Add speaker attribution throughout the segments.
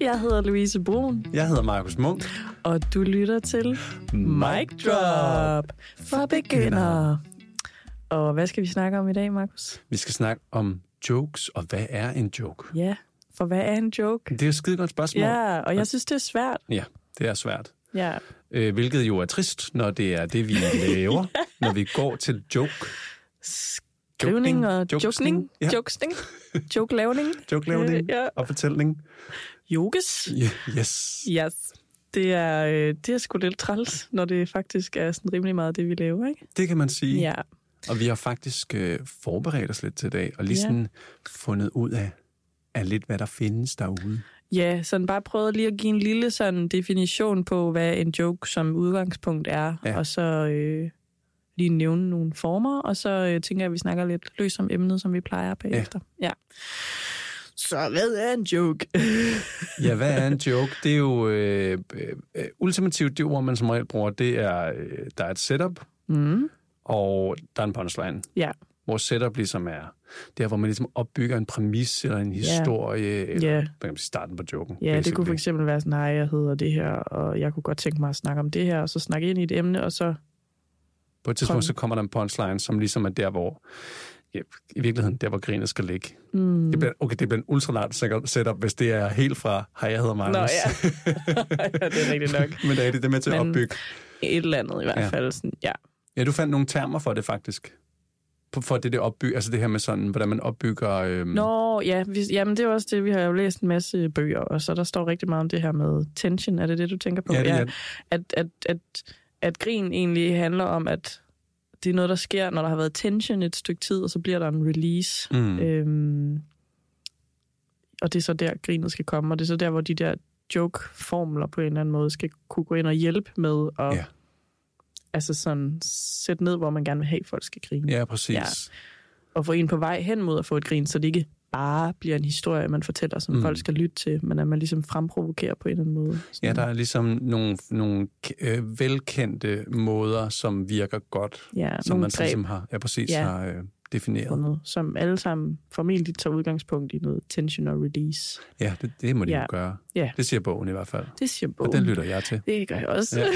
Speaker 1: Jeg hedder Louise Brun,
Speaker 2: Jeg hedder Markus Munk.
Speaker 1: og du lytter til Mic Drop for begyndere. Og hvad skal vi snakke om i dag, Markus?
Speaker 2: Vi skal snakke om jokes, og hvad er en joke?
Speaker 1: Ja, for hvad er en joke?
Speaker 2: Det er et skide godt spørgsmål.
Speaker 1: Ja, og jeg synes, det er svært.
Speaker 2: ja det er svært.
Speaker 1: Ja,
Speaker 2: Øh, hvilket jo er trist, når det er det, vi laver, når vi går til joke.
Speaker 1: skrivning og jokesning.
Speaker 2: Jokesning, ja.
Speaker 1: Jokesning. Joke-lavning.
Speaker 2: Joke-lavning
Speaker 1: Øh, ja.
Speaker 2: og fortælling.
Speaker 1: Jokes.
Speaker 2: Yeah, yes.
Speaker 1: Yes. Det er, øh, det er sgu lidt træls, når det faktisk er sådan rimelig meget det, vi laver, ikke?
Speaker 2: Det kan man sige.
Speaker 1: Ja.
Speaker 2: Og vi har faktisk øh, forberedt os lidt til i dag, og lige
Speaker 1: Ja.
Speaker 2: sådan fundet ud af, af lidt, hvad der findes derude.
Speaker 1: Ja, sådan bare prøvede lige at give en lille sådan definition på, hvad en joke som udgangspunkt er, ja.
Speaker 2: Ja.
Speaker 1: og så øh, lige nævne nogle former, og så øh, tænker jeg, at vi snakker lidt løs om emnet, som vi plejer bagefter. Ja. ja. Så hvad er en joke?
Speaker 2: Ja, hvad er en joke? Det er jo øh, øh, øh, ultimativt det ord, man som regel bruger. Det er, øh, der er et setup,
Speaker 1: Mm.
Speaker 2: og der er en punchline.
Speaker 1: Ja,
Speaker 2: Hvor setup ligesom er der, hvor man ligesom opbygger en præmis eller en historie, yeah. eller
Speaker 1: Ja.
Speaker 2: yeah. kan man sige, starten på joken.
Speaker 1: ja det kunne
Speaker 2: basically.
Speaker 1: for eksempel være sådan, nej, jeg hedder det her, og jeg kunne godt tænke mig at snakke om det her, og så snakke ind i et emne, og så...
Speaker 2: På
Speaker 1: Kom.
Speaker 2: et tidspunkt, så kommer der en punchline, som ligesom er der, hvor ja, i virkeligheden, der hvor grinet skal ligge.
Speaker 1: Mm.
Speaker 2: Det bliver, okay, det bliver en ultralangt setup, hvis det er helt fra, hej, jeg hedder Magnus.
Speaker 1: Nå ja. ja, det er rigtigt nok.
Speaker 2: Men det er det, det er med til at
Speaker 1: Men-
Speaker 2: opbygge.
Speaker 1: Et eller andet i hvert
Speaker 2: Ja.
Speaker 1: fald. Sådan, ja.
Speaker 2: Ja, du fandt nogle termer for det faktisk. På- For det, det opbyg, altså det her med sådan, hvordan man opbygger... Øhm,
Speaker 1: Nå, ja, vi, jamen det er jo også det, vi har jo læst en masse bøger, og så der står rigtig meget om det her med tension, er det det, du tænker på?
Speaker 2: Ja, det er det.
Speaker 1: At, at, at, at grin egentlig handler om, at det er noget, der sker, når der har været tension et stykke tid, og så bliver der en release.
Speaker 2: Mm.
Speaker 1: Øhm, og det er så der, grinet skal komme, og det er så der, hvor de der joke-formler på en eller anden måde skal kunne gå ind og hjælpe med at
Speaker 2: Ja.
Speaker 1: altså sådan, sætte ned, hvor man gerne vil have, at folk skal grine
Speaker 2: Ja, præcis.
Speaker 1: Ja.
Speaker 2: Ja.
Speaker 1: og få en på vej hen mod at få et grin, så det ikke bare bliver en historie, man fortæller, som mm.
Speaker 2: Mm.
Speaker 1: folk skal lytte til, men at man ligesom fremprovokerer på en eller anden måde. Sådan.
Speaker 2: ja, der er ligesom nogle, nogle øh, velkendte måder, som virker godt,
Speaker 1: ja,
Speaker 2: som man
Speaker 1: nogle greb,
Speaker 2: ligesom har, ja, præcis,
Speaker 1: Ja.
Speaker 2: ja. har øh, defineret.
Speaker 1: fundet, som alle sammen formentlig tager udgangspunkt i noget tension og release.
Speaker 2: Ja, det, det må de
Speaker 1: Ja.
Speaker 2: ja. jo gøre.
Speaker 1: Ja.
Speaker 2: Det siger bogen i hvert fald.
Speaker 1: Det siger
Speaker 2: Og
Speaker 1: bogen.
Speaker 2: den lytter jeg til.
Speaker 1: Det gør jeg også.
Speaker 2: Ja.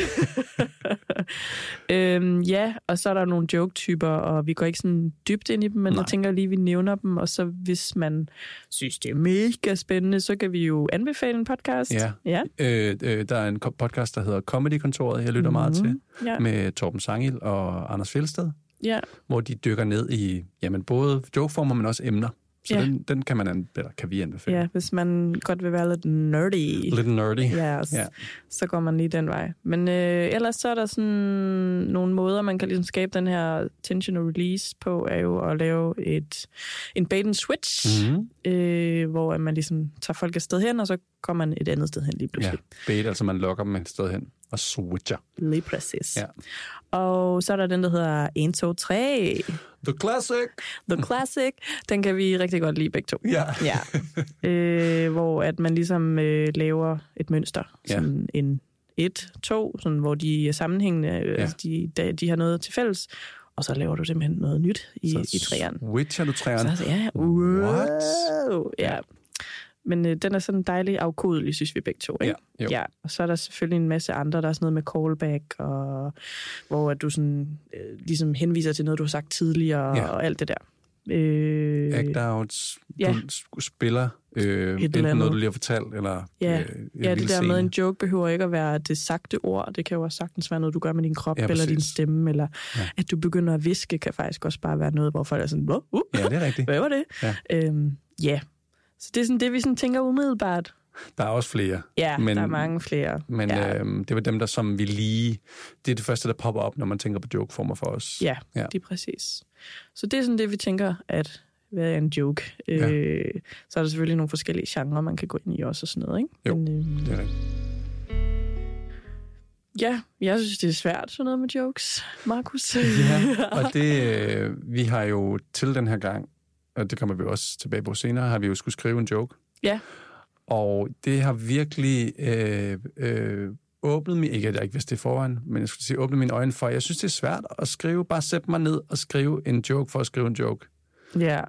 Speaker 1: øhm, ja, og så er der nogle joke-typer, og vi går ikke sådan dybt ind i dem, men Nej.
Speaker 2: Nej.
Speaker 1: jeg tænker lige, vi nævner dem, og så hvis man synes, det er mega spændende, så kan vi jo anbefale en podcast.
Speaker 2: Ja.
Speaker 1: ja.
Speaker 2: Øh, øh, der er en ko- podcast, der hedder Comedy-kontoret, jeg lytter mm. meget til,
Speaker 1: Mm-hmm. Ja.
Speaker 2: med Torben Sangil og Anders Fjeldsted,
Speaker 1: ja.
Speaker 2: hvor de dykker ned i jamen, både jokeformer, men også emner. Så
Speaker 1: Ja.
Speaker 2: ja. den, den kan, man an, eller kan vi anbefale.
Speaker 1: Ja, hvis man godt vil være lidt nerdy.
Speaker 2: Lidt nerdy.
Speaker 1: Ja, yes,
Speaker 2: Ja.
Speaker 1: så går man lige den vej. Men øh, ellers så er der sådan nogle måder, man kan ligesom skabe den her tension og release på, er jo at lave et, en bait and switch,
Speaker 2: Mm-hmm.
Speaker 1: mm. øh, hvor at man ligesom tager folk et sted hen, og så kommer man et andet sted hen lige
Speaker 2: Ja,
Speaker 1: pludselig.
Speaker 2: bait, altså man lokker dem et sted hen og switcher.
Speaker 1: Ja. Lige præcis.
Speaker 2: Ja.
Speaker 1: Og så er der den, der hedder 1, 2, 3,
Speaker 2: The classic!
Speaker 1: The Classic. Den kan vi rigtig godt lide begge to.
Speaker 2: Ja.
Speaker 1: Ja. Øh, hvor at man ligesom øh, laver et mønster.
Speaker 2: Ja.
Speaker 1: Sådan en et, to, sådan, hvor de er sammenhængende, ja. altså de, de, de har noget til fælles. Og så laver du simpelthen noget nyt i, i træerne.
Speaker 2: Switcher du træerne.
Speaker 1: Så, ja,
Speaker 2: What?
Speaker 1: wow, ja. Men øh, den er sådan dejlig afkodelig, synes vi begge to. Ikke?
Speaker 2: Ja, jo.
Speaker 1: ja. Og så er der selvfølgelig en masse andre. Der er sådan noget med callback, og hvor at du sådan, øh, ligesom henviser til noget, du har sagt tidligere, ja.
Speaker 2: Ja.
Speaker 1: og alt det der. Øh,
Speaker 2: Act-outs,
Speaker 1: Ja.
Speaker 2: ja. du sk- spiller øh, enten
Speaker 1: andet.
Speaker 2: noget, du lige har fortalt, eller
Speaker 1: Ja.
Speaker 2: øh, en
Speaker 1: Ja,
Speaker 2: lille
Speaker 1: det der
Speaker 2: scene.
Speaker 1: med, en joke behøver ikke at være det sagte ord. Det kan jo også sagtens være noget, du gør med din krop ja,
Speaker 2: Ja,
Speaker 1: eller din
Speaker 2: præcis.
Speaker 1: stemme, eller ja.
Speaker 2: Ja.
Speaker 1: at du begynder at viske, kan faktisk også bare være noget, hvor folk er sådan, "Wow, uh,
Speaker 2: Ja, det er rigtigt.
Speaker 1: hvad var det?
Speaker 2: Ja.
Speaker 1: Øhm, ja. Så det er sådan det, vi sådan tænker umiddelbart.
Speaker 2: Der er også flere.
Speaker 1: Ja, men,
Speaker 2: Men-
Speaker 1: der er mange flere.
Speaker 2: Men
Speaker 1: ja,
Speaker 2: ja. øhm, det var dem, der som vi lige... Det er det første, der popper op, når man tænker på jokeformer for os.
Speaker 1: ja, ja,
Speaker 2: ja.
Speaker 1: det er præcis. Så det er sådan det, vi tænker, at hvad er en joke?
Speaker 2: Ja.
Speaker 1: Øh, så er der selvfølgelig nogle forskellige genrer, man kan gå ind i også og sådan noget, ikke?
Speaker 2: Jo.
Speaker 1: Men, øhm,
Speaker 2: Det er rigtigt.
Speaker 1: ja, jeg synes, det er svært, sådan noget med jokes, Markus.
Speaker 2: Ja, og det, øh, vi har jo til den her gang, og det kommer vi også tilbage på senere, har vi jo skulle skrive en joke.
Speaker 1: Ja.
Speaker 2: Og det har virkelig øh, øh, åbnet min, ikke at jeg ikke vidste det foran, men jeg skulle sige, åbnet mine øjne for, jeg synes, det er svært at skrive, bare sætte mig ned og skrive en joke for at skrive en joke.
Speaker 1: ja.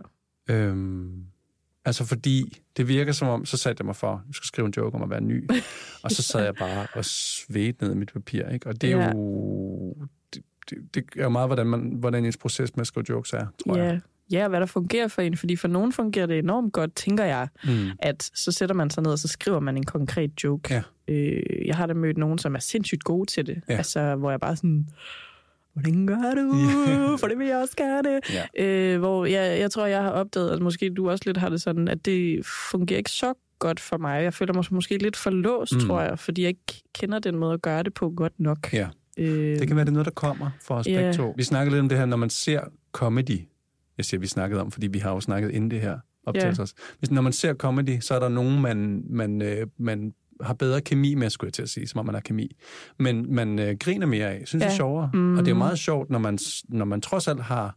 Speaker 2: Øhm, Altså fordi det virker som om, så satte jeg mig for, nu skal skrive en joke om at være ny. og så sad jeg bare og svedte ned i mit papir. Ikke? Og det er
Speaker 1: Ja.
Speaker 2: jo... Det, det, det er jo meget, hvordan, man, hvordan ens proces med at skrive jokes er, tror jeg.
Speaker 1: Ja. ja, og hvad der fungerer for en. Fordi for nogen fungerer det enormt godt, tænker jeg,
Speaker 2: Mm.
Speaker 1: at så sætter man sig ned, og så skriver man en konkret joke.
Speaker 2: Ja.
Speaker 1: Øh, jeg har da mødt nogen, som er sindssygt gode til det.
Speaker 2: Ja.
Speaker 1: Altså, hvor jeg bare sådan, hvordan gør du?
Speaker 2: Ja.
Speaker 1: For det vil jeg også gerne.
Speaker 2: Ja.
Speaker 1: Øh, hvor jeg, jeg tror, jeg har opdaget, at måske du også lidt har det sådan, at det fungerer ikke så godt for mig. Jeg føler mig måske lidt for låst,
Speaker 2: Mm.
Speaker 1: mm. tror jeg, fordi jeg ikke kender den måde at gøre det på godt nok.
Speaker 2: Ja.
Speaker 1: Øh,
Speaker 2: Det kan være, det er noget, der kommer for os
Speaker 1: Ja.
Speaker 2: begge to. Vi snakkede lidt om det her, når man ser comedy. Jeg siger, vi snakkede om, fordi vi har jo snakket inden det her optages yeah. os. Hvis, når man ser comedy, så er der nogen, man, man, øh, man har bedre kemi med, skulle jeg til at sige, som om man har kemi. Men man øh, griner mere af, synes det er
Speaker 1: Ja.
Speaker 2: sjovere. Mm.
Speaker 1: Mhm.
Speaker 2: Og det er jo meget sjovt, når man, s- når man trods alt har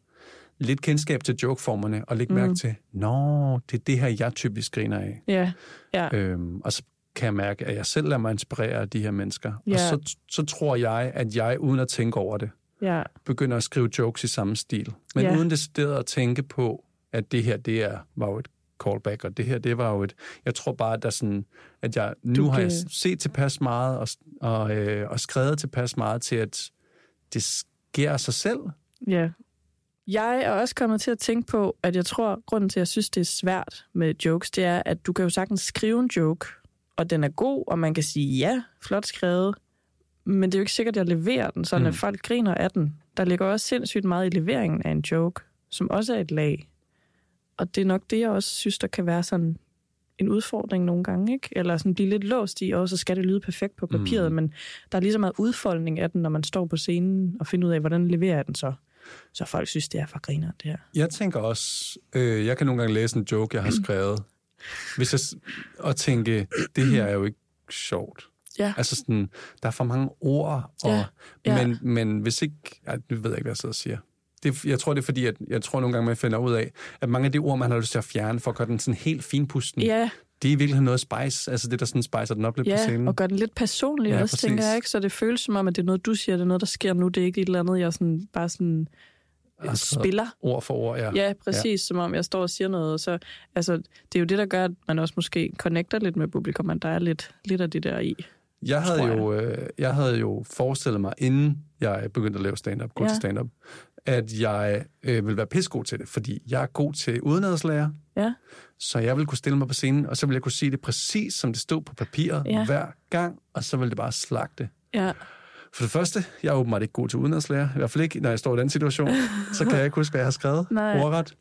Speaker 2: lidt kendskab til jokeformerne, og lægge mm. mærke
Speaker 1: Mhm.
Speaker 2: til, nå, det er det her, jeg typisk griner af.
Speaker 1: ja. ja.
Speaker 2: Øhm, og så kan jeg mærke, at jeg selv lader mig inspirere af de her mennesker.
Speaker 1: Ja.
Speaker 2: Og så, så tror jeg, at jeg, uden at tænke over det,
Speaker 1: ja.
Speaker 2: begynder at skrive jokes i samme stil. Men
Speaker 1: Ja.
Speaker 2: uden det stedet at tænke på, at det her, det er, var jo et callback, og det her, det var jo et... Jeg tror bare, at, der sådan, at jeg, nu
Speaker 1: Du
Speaker 2: har jeg
Speaker 1: kan-
Speaker 2: set tilpas meget og, og, øh, og skrevet tilpas meget til, at det sker af sig selv.
Speaker 1: Ja. Jeg er også kommet til at tænke på, at jeg tror, grunden til, at jeg synes, det er svært med jokes, det er, at du kan jo sagtens skrive en joke, og den er god, og man kan sige, ja, flot skrevet, men det er jo ikke sikkert, at jeg leverer den, sådan
Speaker 2: Mm.
Speaker 1: mm. at folk griner af den. Der ligger også sindssygt meget i leveringen af en joke, som også er et lag. Og det er nok det, jeg også synes, der kan være sådan en udfordring nogle gange, ikke? Eller sådan blive lidt låst i, og så skal det lyde perfekt på papiret,
Speaker 2: Mm.
Speaker 1: mm. men der er lige så meget udfoldning af den, når man står på scenen og finder ud af, hvordan leverer jeg den så. Så folk synes, det er for griner, det her.
Speaker 2: Jeg tænker også, øh, jeg kan nogle gange læse en joke, jeg har skrevet, hvis jeg, s- og tænke, det her er jo ikke sjovt.
Speaker 1: Ja.
Speaker 2: Altså sådan, der er for mange ord, og,
Speaker 1: Ja, ja.
Speaker 2: Men, men hvis ikke... Ej, nu ved jeg ikke, hvad jeg sidder og siger. Det, jeg tror, det er fordi, at jeg tror nogle gange, man finder ud af, at mange af de ord, man har lyst til at fjerne, for at gøre den sådan helt finpusten,
Speaker 1: Ja,
Speaker 2: det er i virkeligheden noget spice, altså det, der sådan spicer den op lidt på
Speaker 1: ja,
Speaker 2: scenen.
Speaker 1: og gør den lidt personlig
Speaker 2: Ja,
Speaker 1: ja, også,
Speaker 2: præcis.
Speaker 1: tænker jeg, ikke? Så det føles som om, at det er noget, du siger, det er noget, der sker nu, det er ikke et eller andet, jeg sådan, bare sådan øh,
Speaker 2: Har skrevet
Speaker 1: spiller.
Speaker 2: Ord for ord, ja.
Speaker 1: Ja, præcis, ja. som om jeg står og siger noget. og Så, altså, det er jo det, der gør, at man også måske connecter lidt med publikum, men der er lidt, lidt af det der i.
Speaker 2: Jeg havde,
Speaker 1: tror jeg.
Speaker 2: jo, øh, jeg havde jo forestillet mig, inden jeg begyndte at lave stand-up, gå ja.
Speaker 1: Ja.
Speaker 2: til stand-up, at jeg øh, ville være pissegod til det, fordi jeg er god til udenadslærer,
Speaker 1: Ja,
Speaker 2: så jeg ville kunne stille mig på scenen, og så ville jeg kunne sige det præcis, som det stod på papiret ja.
Speaker 1: Ja.
Speaker 2: hver gang, og så ville det bare slagte.
Speaker 1: ja,
Speaker 2: For det første, jeg er åbenbart ikke god til udenrigslærer. I hvert fald ikke, når jeg står i den situation. Så kan jeg ikke huske, hvad jeg har skrevet
Speaker 1: Nej.
Speaker 2: ordret.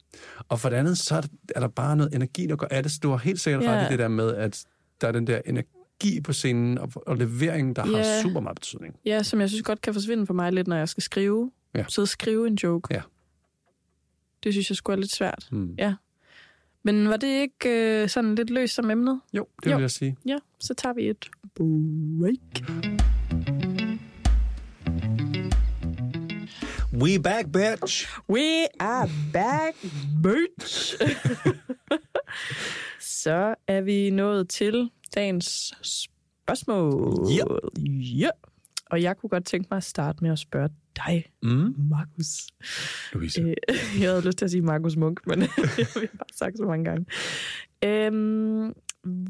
Speaker 2: Og for det andet, så er der, er der bare noget energi, der går af det. Så Du har helt sikkert ret
Speaker 1: Ja.
Speaker 2: i det der med, at der er den der energi på scenen og, og leveringen, der har
Speaker 1: Ja.
Speaker 2: super meget betydning.
Speaker 1: ja, som jeg synes godt kan forsvinde for mig lidt, når jeg skal skrive.
Speaker 2: Ja.
Speaker 1: Sidde og skrive en joke.
Speaker 2: Ja.
Speaker 1: Det synes jeg skulle er lidt svært.
Speaker 2: Hmm.
Speaker 1: Men var det ikke øh, sådan lidt løst som emnet?
Speaker 2: Jo, det vil
Speaker 1: Jo.
Speaker 2: jeg sige.
Speaker 1: Ja, så tager vi et break.
Speaker 2: We back, bitch!
Speaker 1: We are back, bitch! så er vi nået til dagens spørgsmål.
Speaker 2: Ja.
Speaker 1: ja. Og jeg kunne godt tænke mig at starte med at spørge dig,
Speaker 2: Mm.
Speaker 1: Markus.
Speaker 2: Louise.
Speaker 1: Øh, jeg havde lyst til at sige Markus Munk, men vi har bare sagt så mange gange. Øhm,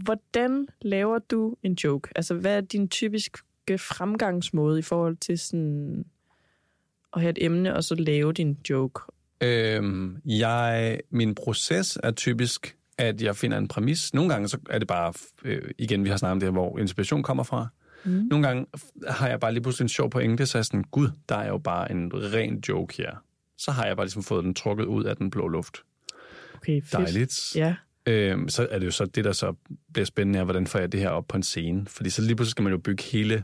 Speaker 1: hvordan laver du en joke? Altså, hvad er din typiske fremgangsmåde i forhold til sådan at have et emne, og så lave din joke?
Speaker 2: Øhm, jeg, min proces er typisk, at jeg finder en præmis. Nogle gange så er det bare, øh, igen, vi har snakket om det her, hvor inspiration kommer fra. Mm. Nogle gange f- har jeg bare lige pludselig en sjov pointe, så er jeg sådan, gud, der er jo bare en ren joke her. Så har jeg bare ligesom fået den trukket ud af den blå luft.
Speaker 1: Okay, fedt.
Speaker 2: Dejligt.
Speaker 1: Ja,
Speaker 2: Øhm, så er det jo så det, der så bliver spændende, er, hvordan får jeg det her op på en scene? Fordi så lige pludselig skal man jo bygge hele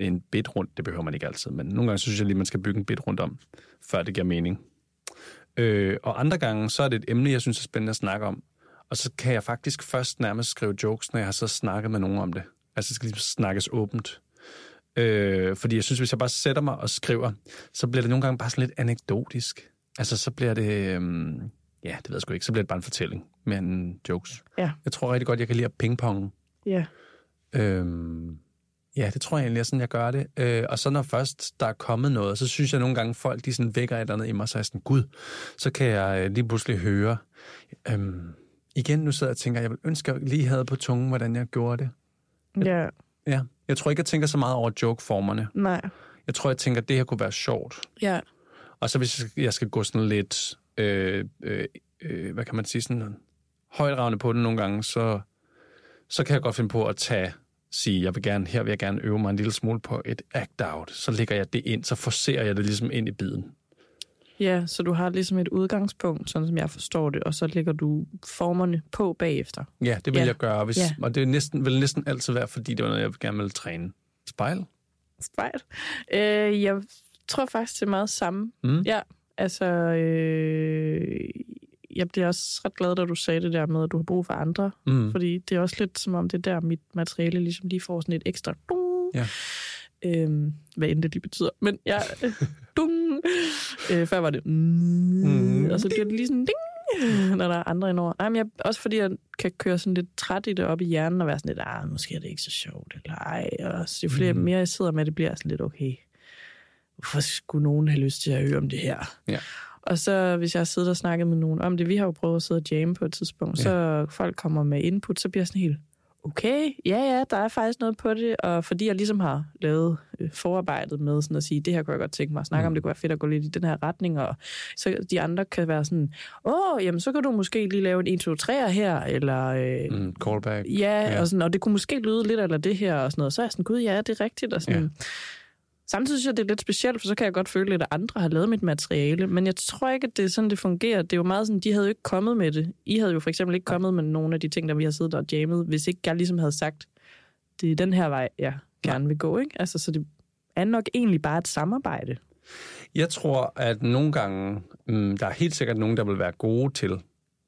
Speaker 2: en bit rundt. Det behøver man ikke altid, men nogle gange så synes jeg lige, man skal bygge en bit rundt om, før det giver mening. Øh, og andre gange, så er det et emne, jeg synes er spændende at snakke om. Og så kan jeg faktisk først nærmest skrive jokes, når jeg har så snakket med nogen om det. Altså, det skal ligesom snakkes åbent. Øh, fordi jeg synes, hvis jeg bare sætter mig og skriver, så bliver det nogle gange bare sådan lidt anekdotisk. Altså, så bliver det... Øhm, ja, det ved jeg sgu ikke. Så bliver det bare en fortælling mere end jokes.
Speaker 1: Ja.
Speaker 2: Jeg tror rigtig godt, jeg kan lide at pingponge.
Speaker 1: ja.
Speaker 2: Øhm, ja, det tror jeg egentlig er sådan, jeg gør det. Øh, og så når først der er kommet noget, så synes jeg nogle gange, folk de sådan vækker et eller andet i mig, så er jeg sådan, gud, så kan jeg øh, lige pludselig høre, øhm, igen, nu sidder jeg og tænker, jeg vil ønske, at jeg lige havde på tungen, hvordan jeg gjorde det.
Speaker 1: Ja,
Speaker 2: Ja. Jeg tror ikke, jeg tænker så meget over joke-formerne.
Speaker 1: nej.
Speaker 2: Jeg tror, jeg tænker, at det her kunne være sjovt.
Speaker 1: Ja,
Speaker 2: Og så hvis jeg skal- jeg skal gå sådan lidt, øh, øh, øh, hvad kan man sige, sådan højdragende på den nogle gange, så, så kan jeg godt finde på at tage, sige, jeg vil gerne, her vil jeg gerne øve mig en lille smule på et act-out. Så lægger jeg det ind, så forserer jeg det ligesom ind i biden.
Speaker 1: ja, så du har ligesom et udgangspunkt, sådan som jeg forstår det, og så lægger du formerne på bagefter.
Speaker 2: Ja, det vil
Speaker 1: Ja.
Speaker 2: jeg gøre, hvis,
Speaker 1: Ja.
Speaker 2: og det er næsten, vil næsten altid være, fordi det var noget, jeg gerne ville træne. Spejl?
Speaker 1: Spejl. Øh, jeg tror faktisk, det er meget samme.
Speaker 2: Mm.
Speaker 1: Ja, altså... Øh, jeg bliver også ret glad, da du sagde det der med, at du har brug for andre.
Speaker 2: Mm.
Speaker 1: Fordi det er også lidt som om, det er der, mit materiale ligesom lige får sådan et ekstra dung.
Speaker 2: Ja.
Speaker 1: Øhm, hvad end det lige betyder. Men jeg... øh, dung. Øh, før var det... Mm, og så bliver det lige sådan... Ding, når der er andre indover. Nej, men jeg, også fordi jeg kan køre sådan lidt træt i det op i hjernen og være sådan lidt, ah, måske er det ikke så sjovt, eller ej. Og så jo flere
Speaker 2: Mm.
Speaker 1: mm. mere jeg sidder med, det bliver jeg sådan lidt, okay, hvorfor skulle nogen have lyst til at høre om det her?
Speaker 2: Ja.
Speaker 1: Og så hvis jeg har siddet og snakket med nogen om det, vi har jo prøvet at sidde og jamme på et tidspunkt,
Speaker 2: Ja.
Speaker 1: ja. så folk kommer med input, så bliver jeg sådan helt, okay, ja ja, der er faktisk noget på det, og fordi jeg ligesom har lavet øh, forarbejdet med sådan at sige, det her kunne jeg godt tænke mig at snakke mm. om, det kunne være fedt at gå lidt i den her retning, og så de andre kan være sådan, åh, jamen så kan du måske lige lave en 1, 2, 3 her, eller øh,
Speaker 2: Mm, callback.
Speaker 1: Ja,
Speaker 2: Ja.
Speaker 1: ja. Og, sådan, og det kunne måske lyde lidt eller det her og sådan noget. Så er jeg sådan, gud ja, det er rigtigt. Og sådan.
Speaker 2: Ja.
Speaker 1: Ja. Samtidig synes jeg, det er lidt specielt, for så kan jeg godt føle lidt, at andre har lavet mit materiale. Men jeg tror ikke, at det er sådan, det fungerer. Det er jo meget sådan, de havde jo ikke kommet med det. I havde jo for eksempel ikke kommet med nogle af de ting, der vi har siddet og jammet, hvis ikke jeg ligesom havde sagt, det er den her vej, jeg gerne vil gå. Ikke? Altså, så det er nok egentlig bare et samarbejde.
Speaker 2: Jeg tror, at nogle gange, mm, der er helt sikkert nogen, der vil være gode til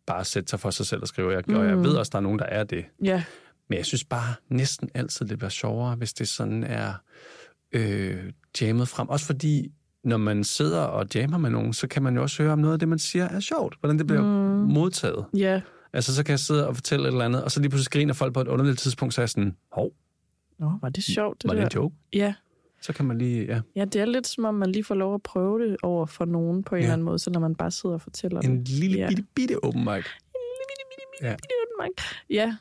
Speaker 2: bare at sætte sig for sig selv og skrive. Jeg, Og jeg
Speaker 1: Mm.
Speaker 2: ved også, der er nogen, der er det.
Speaker 1: Ja,
Speaker 2: Men jeg synes bare næsten altid, det bliver sjovere, hvis det sådan er øh, jammet frem. Også fordi, når man sidder og jammer med nogen, så kan man jo også høre om noget af det, man siger er sjovt. Hvordan det bliver mm. modtaget.
Speaker 1: ja.
Speaker 2: Altså, så kan jeg sidde og fortælle et eller andet, og så lige pludselig griner folk på et underligt tidspunkt, så er jeg sådan, hov,
Speaker 1: Nå, var det sjovt, det
Speaker 2: var det
Speaker 1: der?
Speaker 2: en joke?
Speaker 1: Ja.
Speaker 2: Så kan man lige, ja.
Speaker 1: ja, det er lidt som om, man lige får lov at prøve det over for nogen på en
Speaker 2: Ja.
Speaker 1: ja. eller anden måde, så når man bare sidder og fortæller det.
Speaker 2: En lille,
Speaker 1: Ja.
Speaker 2: bitte, bitte open mic.
Speaker 1: Ja,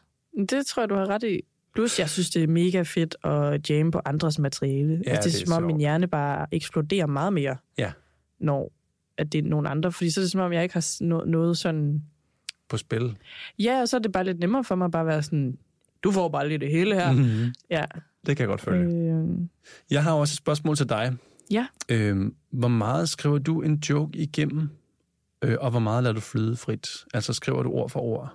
Speaker 1: det tror jeg, du har ret i. Plus, jeg synes, det er mega fedt at jamme på andres materiale.
Speaker 2: Ja,
Speaker 1: Ja, altså, det er
Speaker 2: det er
Speaker 1: som om,
Speaker 2: sjovt.
Speaker 1: min hjerne bare eksploderer meget mere,
Speaker 2: Ja.
Speaker 1: når at det er nogen andre. Fordi så er det som om, jeg ikke har s- no- noget sådan...
Speaker 2: På spil.
Speaker 1: Ja, og så er det bare lidt nemmere for mig bare at være sådan... Du får bare lige det hele her. Mm.
Speaker 2: Mm-hmm.
Speaker 1: Ja.
Speaker 2: Det kan jeg godt følge.
Speaker 1: Øh,
Speaker 2: Jeg har også et spørgsmål til dig.
Speaker 1: Ja.
Speaker 2: Øhm, hvor meget skriver du en joke igennem, øh, og hvor meget lader du flyde frit? Altså skriver du ord for ord?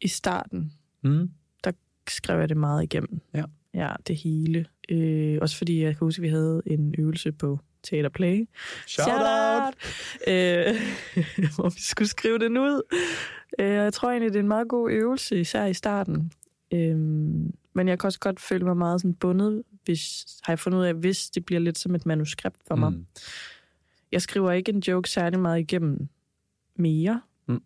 Speaker 1: I starten,
Speaker 2: Mm.
Speaker 1: skrev jeg det meget igennem.
Speaker 2: Ja.
Speaker 1: Ja, det hele. Øh, også fordi jeg kan huske, at vi havde en øvelse på Theater Play.
Speaker 2: Shout out!
Speaker 1: Øh, hvor vi skulle skrive den ud. Øh, og jeg tror egentlig, det er en meget god øvelse, især i starten. Øh, men jeg kan også godt føle mig meget sådan bundet, hvis, har jeg fundet ud af, hvis det bliver lidt som et manuskript for mig. Mm.
Speaker 2: Mm.
Speaker 1: Jeg skriver ikke en joke særlig meget igennem mere.
Speaker 2: Mm.
Speaker 1: Mm.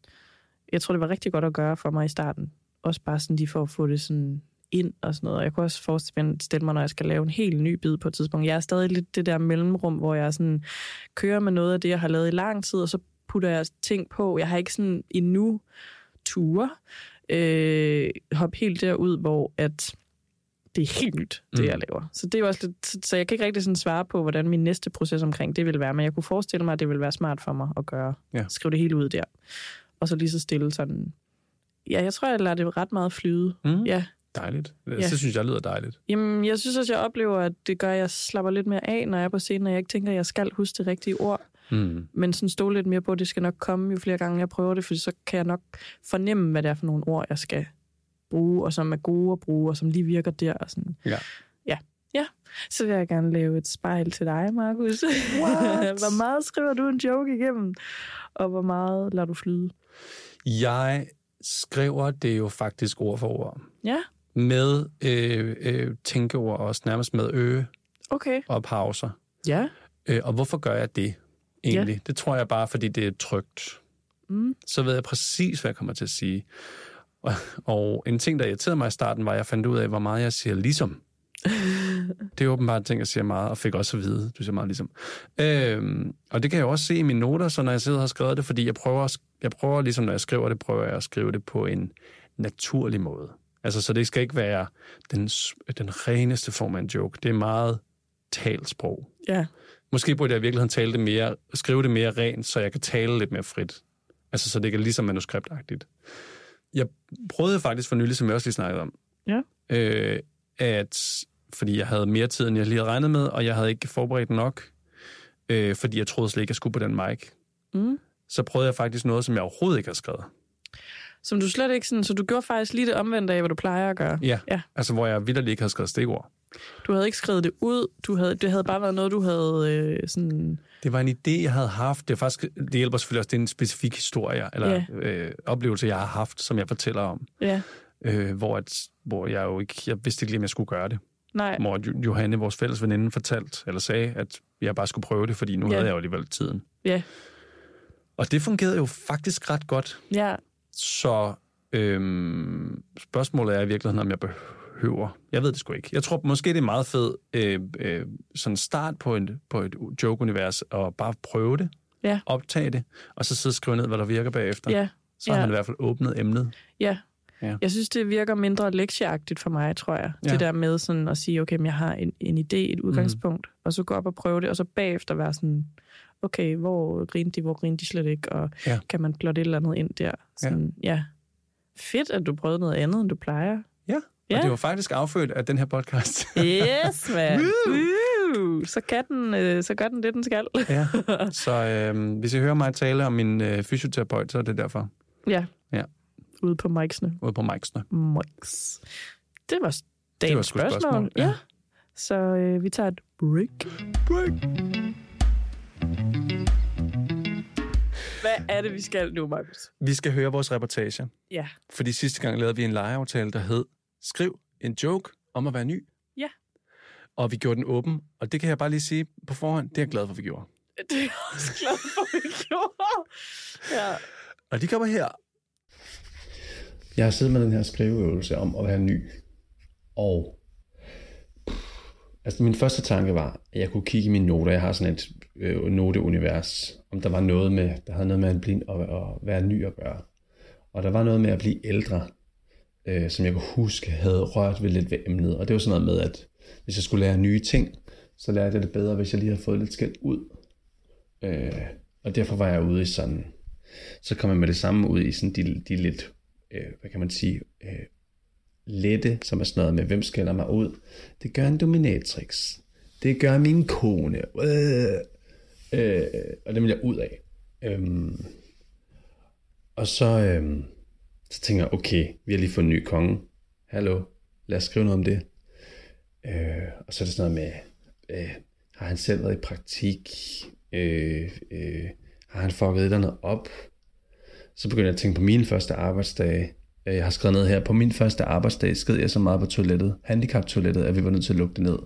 Speaker 1: Jeg tror, det var rigtig godt at gøre for mig i starten. Også bare sådan lige for at få det sådan ind og sådan noget. Og jeg kunne også forestille mig, når jeg skal lave en helt ny bid på et tidspunkt. Jeg er stadig lidt det der mellemrum, hvor jeg sådan kører med noget af det, jeg har lavet i lang tid, og så putter jeg ting på. Jeg har ikke sådan endnu ture øh, hoppe helt derud, hvor at det er helt nyt, det
Speaker 2: Mm.
Speaker 1: mm. jeg laver. Så det er jo også lidt, så- så jeg kan ikke rigtig sådan svare på, hvordan min næste proces omkring det vil være, men jeg kunne forestille mig, at det ville være smart for mig at gøre.
Speaker 2: Ja.
Speaker 1: Skrive det hele ud der. Og så lige så stille sådan... Ja, jeg tror, jeg lader det ret meget flyde.
Speaker 2: Mm.
Speaker 1: Ja.
Speaker 2: Dejligt.
Speaker 1: Ja.
Speaker 2: Det synes jeg lyder dejligt.
Speaker 1: Jamen, jeg synes også, jeg oplever, at det gør, at jeg slapper lidt mere af, når jeg er på scenen, og jeg ikke tænker, at jeg skal huske det rigtige ord.
Speaker 2: Mm.
Speaker 1: Men sådan stå lidt mere på, at det skal nok komme, jo flere gange jeg prøver det, for så kan jeg nok fornemme, hvad det er for nogle ord, jeg skal bruge, og som er gode at bruge, og som lige virker der. Og sådan.
Speaker 2: Ja.
Speaker 1: ja. Ja, så vil jeg gerne lave et spejl til dig, Markus. hvor meget skriver du en joke igennem, og hvor meget lader du flyde?
Speaker 2: Jeg skriver det jo faktisk ord for ord.
Speaker 1: Ja,
Speaker 2: Med øh, øh, tænkeord også, nærmest med ø
Speaker 1: okay.
Speaker 2: og pauser.
Speaker 1: Ja.
Speaker 2: Øh, og hvorfor gør jeg det egentlig? Ja. Det tror jeg bare, fordi det er trygt.
Speaker 1: Mm.
Speaker 2: Så ved jeg præcis, hvad jeg kommer til at sige. Og, og en ting, der irriterede mig i starten, var, at jeg fandt ud af, hvor meget jeg siger ligesom. Det er åbenbart ting, jeg siger meget, og fik også at vide, du siger meget ligesom. Øhm, og det kan jeg jo også se i mine noter, så når jeg sidder og har skrevet det, fordi jeg prøver, at sk- jeg prøver ligesom når jeg skriver det, prøver jeg at skrive det på en naturlig måde. Altså, så det skal ikke være den, s- den reneste form af en joke. Det er meget talsprog.
Speaker 1: Ja.
Speaker 2: Måske burde jeg i virkeligheden tale det mere, skrive det mere rent, så jeg kan tale lidt mere frit. Altså, så det ikke er ligesom manuskriptagtigt. Jeg prøvede faktisk for nylig, som jeg også lige snakkede om,
Speaker 1: Ja.
Speaker 2: øh, at, fordi jeg havde mere tid, end jeg lige havde regnet med, og jeg havde ikke forberedt nok, øh, fordi jeg troede slet ikke, jeg skulle på den mic.
Speaker 1: Mm.
Speaker 2: Så prøvede jeg faktisk noget, som jeg overhovedet ikke havde skrevet.
Speaker 1: Som du slet ikke sådan, så du gjorde faktisk lige det omvendte af, hvad du plejer at gøre.
Speaker 2: Ja.
Speaker 1: Ja.
Speaker 2: Altså, hvor jeg vildt ikke havde skrevet stikord.
Speaker 1: Du havde ikke skrevet det ud, du havde, det havde bare været noget, du havde øh, sådan...
Speaker 2: Det var en idé, jeg havde haft. Det, er faktisk, det hjælper selvfølgelig også, det er en specifik historie, eller øh, oplevelse, jeg har haft, som jeg fortæller om.
Speaker 1: Ja,
Speaker 2: Øh, hvor, at, hvor jeg jo ikke, jeg vidste ikke lige, om jeg skulle gøre det.
Speaker 1: nej,
Speaker 2: Hvor Jo- Johanne, vores fælles veninde, fortalte, eller sagde, at jeg bare skulle prøve det, fordi nu
Speaker 1: Ja.
Speaker 2: havde jeg jo alligevel tiden.
Speaker 1: ja,
Speaker 2: Og det fungerede jo faktisk ret godt.
Speaker 1: ja.
Speaker 2: Så øhm, spørgsmålet er i virkeligheden, om jeg behøver. Jeg ved det sgu ikke. Jeg tror måske, det er en meget fed øh, øh, sådan start på, en, på et joke-univers, og bare prøve det,
Speaker 1: Ja.
Speaker 2: optage det, og så sidde og skrive ned, hvad der virker bagefter.
Speaker 1: ja.
Speaker 2: så har
Speaker 1: ja.
Speaker 2: man i hvert fald åbnet emnet.
Speaker 1: Ja.
Speaker 2: Ja.
Speaker 1: ja. Jeg synes, det virker mindre lektieagtigt for mig, tror jeg.
Speaker 2: Ja. Mhm.
Speaker 1: Ja. Det der med sådan at sige, okay, men jeg har en, en idé, et udgangspunkt, mm. og så gå op og prøve det, og så bagefter være sådan, okay, hvor grinte de, hvor grinte de slet ikke, og
Speaker 2: Ja.
Speaker 1: ja. kan man plotte et eller andet ind der? Sådan, ja. ja. Fedt, at du prøvede noget andet, end du plejer.
Speaker 2: Ja,
Speaker 1: Ja.
Speaker 2: Og det var faktisk affødt af den her podcast.
Speaker 1: Yes, man!
Speaker 2: Woo!
Speaker 1: Woo! Så, kan den, øh, så gør den det, den skal.
Speaker 2: ja. Så øh, hvis I hører mig tale om min øh, fysioterapeut, så er det derfor
Speaker 1: ja.
Speaker 2: Ja.
Speaker 1: Ude på micsene.
Speaker 2: ude på Mike'sne.
Speaker 1: Mics. Det var dagens
Speaker 2: Det var sgu et
Speaker 1: spørgsmål.
Speaker 2: spørgsmål,
Speaker 1: spørgsmål. Ja.
Speaker 2: ja.
Speaker 1: ja. Så øh, vi tager et break.
Speaker 2: Break.
Speaker 1: Hvad er det, vi skal nu, Markus?
Speaker 2: Vi skal høre vores reportage,
Speaker 1: Ja.
Speaker 2: fordi sidste gang lavede vi en legeaftale, der hed Skriv en joke om at være ny.
Speaker 1: Ja.
Speaker 2: Og vi gjorde den åben, og det kan jeg bare lige sige på forhånd, det er jeg glad for, vi gjorde.
Speaker 1: Det er jeg også glad for, vi gjorde. Ja.
Speaker 2: Og de kommer her. Jeg har siddet med den her skriveøvelse om at være ny. Og altså min første tanke var, at jeg kunne kigge i mine noter. Jeg har sådan et øh, noteunivers, om der var noget med, der havde noget med at, blive, at, at være ny at gøre. Og der var noget med at blive ældre, øh, som jeg kunne huske havde rørt ved lidt ved emnet. Og det var sådan noget med, at hvis jeg skulle lære nye ting, så lærte jeg det bedre, hvis jeg lige havde fået lidt skæld ud. Øh, og derfor var jeg ude i sådan så kommer man med det samme ud i sådan de, de lidt, øh, hvad kan man sige, øh, lette, som er sådan noget med, hvem skælder mig ud? Det gør en dominatrix. Det gør min kone. Øh, øh, og det vil jeg ud af. Øhm, og så, øhm, så tænker jeg, okay, vi har lige fået en ny konge. Hallo, lad os skrive noget om det. Øh, og så er det sådan noget med, øh, har han selv været i praktik? Øh, øh, har han fucket et eller andet op? Så begyndte jeg at tænke på mine første arbejdsdage. Øh, Jeg har skrevet ned her, på min første arbejdsdag sked jeg så meget på toilettet, handicaptoilettet, at vi var nødt til at lukke det ned.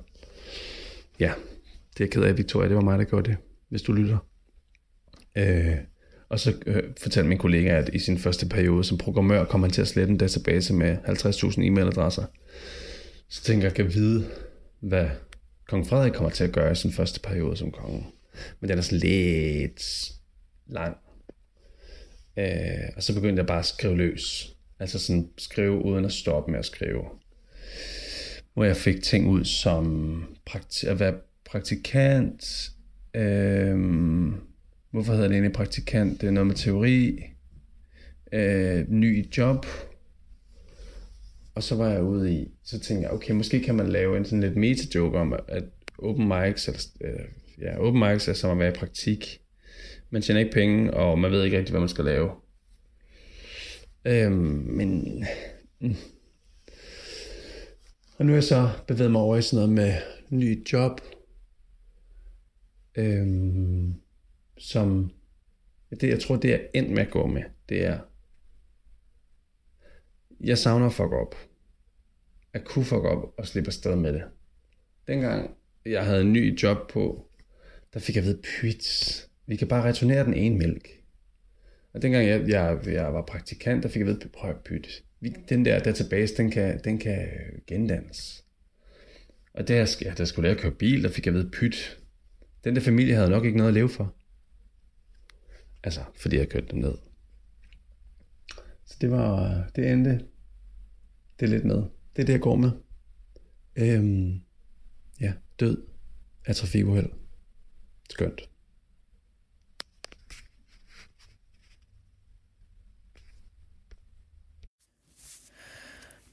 Speaker 2: Ja, det er jeg ked af, Victoria, det var mig, der gjorde det, hvis du lytter. Øh, og så øh, fortalte min kollega, at i sin første periode som programmør kom han til at slette en database med 50.000 e-mailadresser. Så tænker jeg, kan vide, hvad kong Frederik kommer til at gøre i sin første periode som konge. Men den er sådan lidt lang. Øh, og så begyndte jeg bare at skrive løs. Altså sådan skrive uden at stoppe med at skrive. Hvor jeg fik ting ud som prakti- at være praktikant. Øh, hvorfor hedder det egentlig praktikant? Det er noget med teori. Øh, ny i job. Og så var jeg ude i, så tænkte jeg, okay, måske kan man lave en sådan lidt meta-joke om, at open mics, eller, øh, ja, open mics er som at være i praktik man tjener ikke penge, og man ved ikke rigtig, hvad man skal lave. Øhm, men... mm. Og nu er jeg så bevæget mig over i sådan noget med ny job, øhm, som... Det, jeg tror, det er endt med at gå med, det er... Jeg savner at fuck op. At kunne fuck op og slippe afsted med det. Dengang jeg havde en ny job på, der fik jeg ved, pyt, vi kan bare returnere den ene mælk. Og dengang jeg, jeg, jeg var praktikant, der fik jeg ved, prøv at pyt, vi, den der database, den kan, den kan øh, gendannes. Og da jeg, sk- ja, da jeg skulle lære at køre bil, der fik jeg ved pyt. Den der familie havde nok ikke noget at leve for. Altså, fordi jeg kørte dem ned. Så det var, det endte det er lidt med. Det er det, jeg går med. Øhm, ja, død af trafikuheld. Skønt.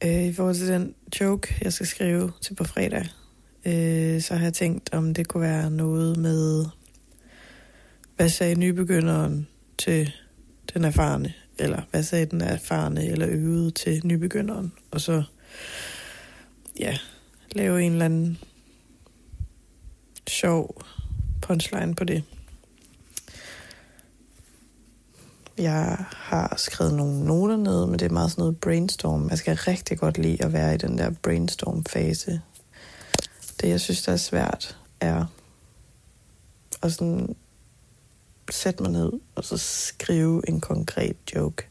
Speaker 3: Øh, I forhold til den joke, jeg skal skrive til på fredag, øh, så har jeg tænkt, om det kunne være noget med, hvad sagde nybegynderen til den erfarne, eller hvad sagde den erfarne eller øvede til nybegynderen, og så ja, lave en eller anden sjov punchline på det. Jeg har skrevet nogle noter ned, men det er meget sådan noget brainstorm. Jeg skal rigtig godt lide at være i den der brainstorm-fase. Det, jeg synes, der er svært, er at sådan sætte mig ned og så skrive en konkret joke.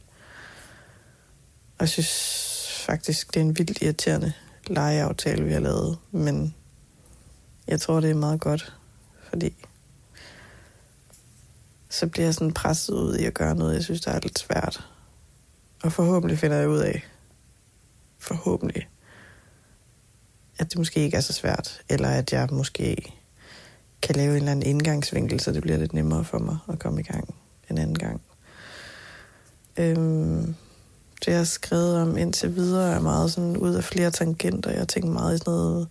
Speaker 3: Og jeg synes faktisk, det er en vildt irriterende legeaftale, vi har lavet, men jeg tror, det er meget godt, fordi så bliver jeg sådan presset ud i at gøre noget, jeg synes, der er lidt svært. Og forhåbentlig finder jeg ud af, forhåbentlig, at det måske ikke er så svært, eller at jeg måske kan lave en eller anden indgangsvinkel, så det bliver lidt nemmere for mig at komme i gang en anden gang. Øhm, det, jeg har skrevet om indtil videre, er meget sådan ud af flere tangenter. Jeg har tænkt meget i sådan noget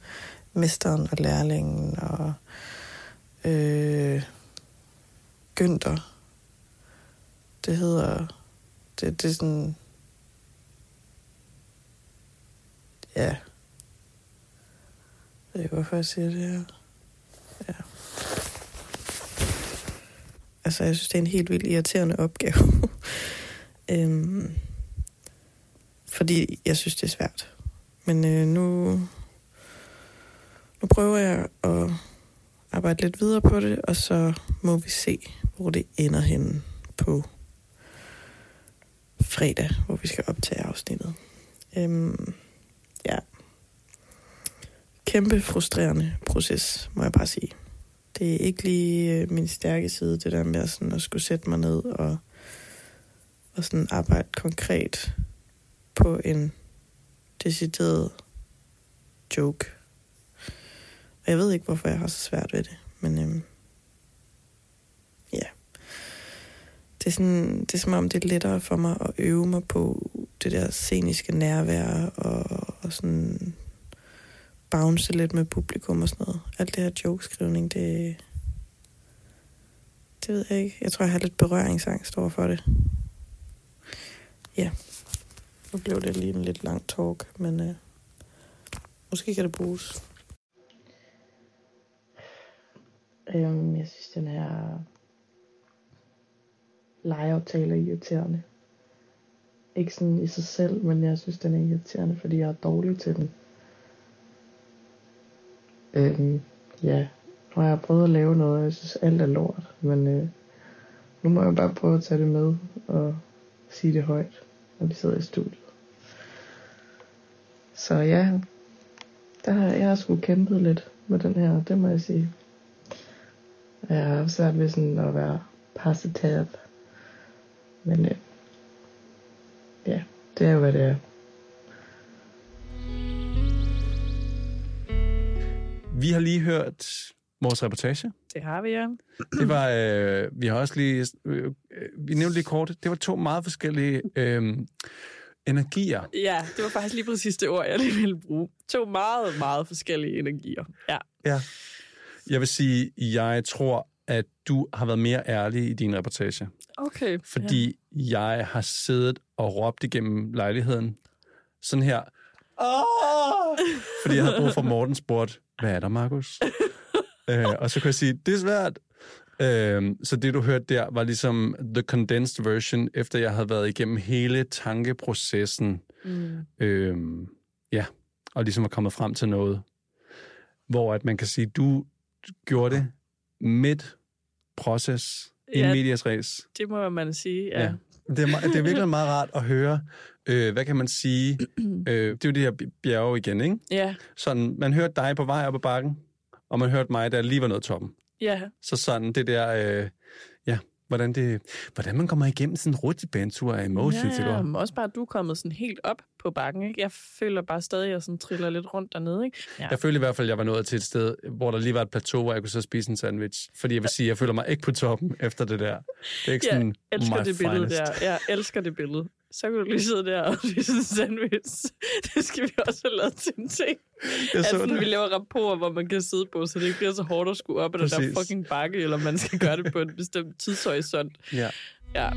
Speaker 3: mesteren og lærlingen og øh, Günther. Det hedder... Det, det er sådan... Ja. Jeg ved ikke, hvorfor jeg siger det her. Ja. Altså, jeg synes, det er en helt vildt irriterende opgave. øhm, fordi jeg synes, det er svært. Men øh, nu, nu prøver jeg at arbejde lidt videre på det, og så må vi se, hvor det ender henne på fredag, hvor vi skal optage afsnittet. Øhm, ja. Kæmpe frustrerende proces, må jeg bare sige. Det er ikke lige øh, min stærke side, det der med at sådan at skulle sætte mig ned og, og sådan arbejde konkret på en decideret joke. Og jeg ved ikke, hvorfor jeg har så svært ved det, men øhm, ja. Det er, sådan, det er som om, det er lettere for mig at øve mig på det der sceniske nærvær og, og sådan bounce lidt med publikum og sådan noget. Alt det her jokeskrivning, det, det ved jeg ikke. Jeg tror, jeg har lidt berøringsangst over for det. Ja. Nu blev det lige en lidt lang talk, men øh, måske kan det bruges.
Speaker 4: Øhm, jeg synes, den her legeaftale er irriterende. Ikke sådan i sig selv, men jeg synes, den er irriterende, fordi jeg er dårlig til den. Øhm, ja, og jeg har prøvet at lave noget, og jeg synes, alt er lort. Men øh, nu må jeg bare prøve at tage det med og sige det højt, når vi sidder i studiet. Så ja, der har, jeg har sgu kæmpet lidt med den her, det må jeg sige. Og Jeg har haft svært ved sådan at være positiv. Men øh, ja, det er jo, hvad det er.
Speaker 5: Vi har lige hørt vores reportage.
Speaker 1: Det har vi, ja.
Speaker 5: Det var, øh, vi har også lige, øh, øh, vi nævnte lige kort, det var to meget forskellige øh, energier.
Speaker 1: Ja, det var faktisk lige præcis det ord, jeg lige ville bruge. To meget, meget forskellige energier. Ja.
Speaker 5: Jeg vil sige, jeg tror, at du har været mere ærlig i din reportage.
Speaker 1: Okay.
Speaker 5: Fordi ja. jeg har siddet og råbt igennem lejligheden. Sådan her. Åh! Fordi jeg havde brug for at Morten spurgt, hvad er der, Markus? øh, og så kunne jeg sige, det er svært. Øh, så det, du hørte der, var ligesom the condensed version, efter jeg havde været igennem hele tankeprocessen.
Speaker 1: Mm.
Speaker 5: Øh, ja, og ligesom var kommet frem til noget. Hvor at man kan sige, du gjorde det midt proces, i en medias res.
Speaker 1: det må man sige. Ja.
Speaker 5: Ja.
Speaker 1: ja.
Speaker 5: Det er, me- det er virkelig meget rart at høre, øh, hvad kan man sige, øh, det er jo de her bi- bjerge igen, ikke?
Speaker 1: Ja,
Speaker 5: Sådan, man hørte dig på vej op ad bakken, og man hørte mig, der lige var noget toppen.
Speaker 1: ja.
Speaker 5: Så sådan det der, øh, ja, hvordan, det, hvordan man kommer igennem sådan en rutsjebanetur af emotions,
Speaker 1: ja,
Speaker 5: ja,
Speaker 1: ja. Men også bare, at du er kommet sådan helt op på bakken. Ikke? Jeg føler bare stadig, at jeg sådan triller lidt rundt dernede. Ikke? Ja.
Speaker 5: Jeg følte i hvert fald, at jeg var nået til et sted, hvor der lige var et plateau, hvor jeg kunne så spise en sandwich. Fordi jeg vil sige, at jeg føler mig ikke på toppen efter det der. Det er ikke sådan,
Speaker 1: Jeg elsker
Speaker 5: my
Speaker 1: det billede
Speaker 5: finest.
Speaker 1: der. Jeg elsker det billede. Så kan du lige sidde der og spise en sandwich. Det skal vi også have lavet til en ting.
Speaker 5: Jeg
Speaker 1: At
Speaker 5: så
Speaker 1: sådan, Altså, vi
Speaker 5: det.
Speaker 1: laver rapporter, hvor man kan sidde på, så det ikke bliver så hårdt at skulle op ad den der
Speaker 5: Præcis.
Speaker 1: fucking bakke, eller man skal gøre det på en bestemt tidshorisont.
Speaker 5: Ja.
Speaker 1: Ja.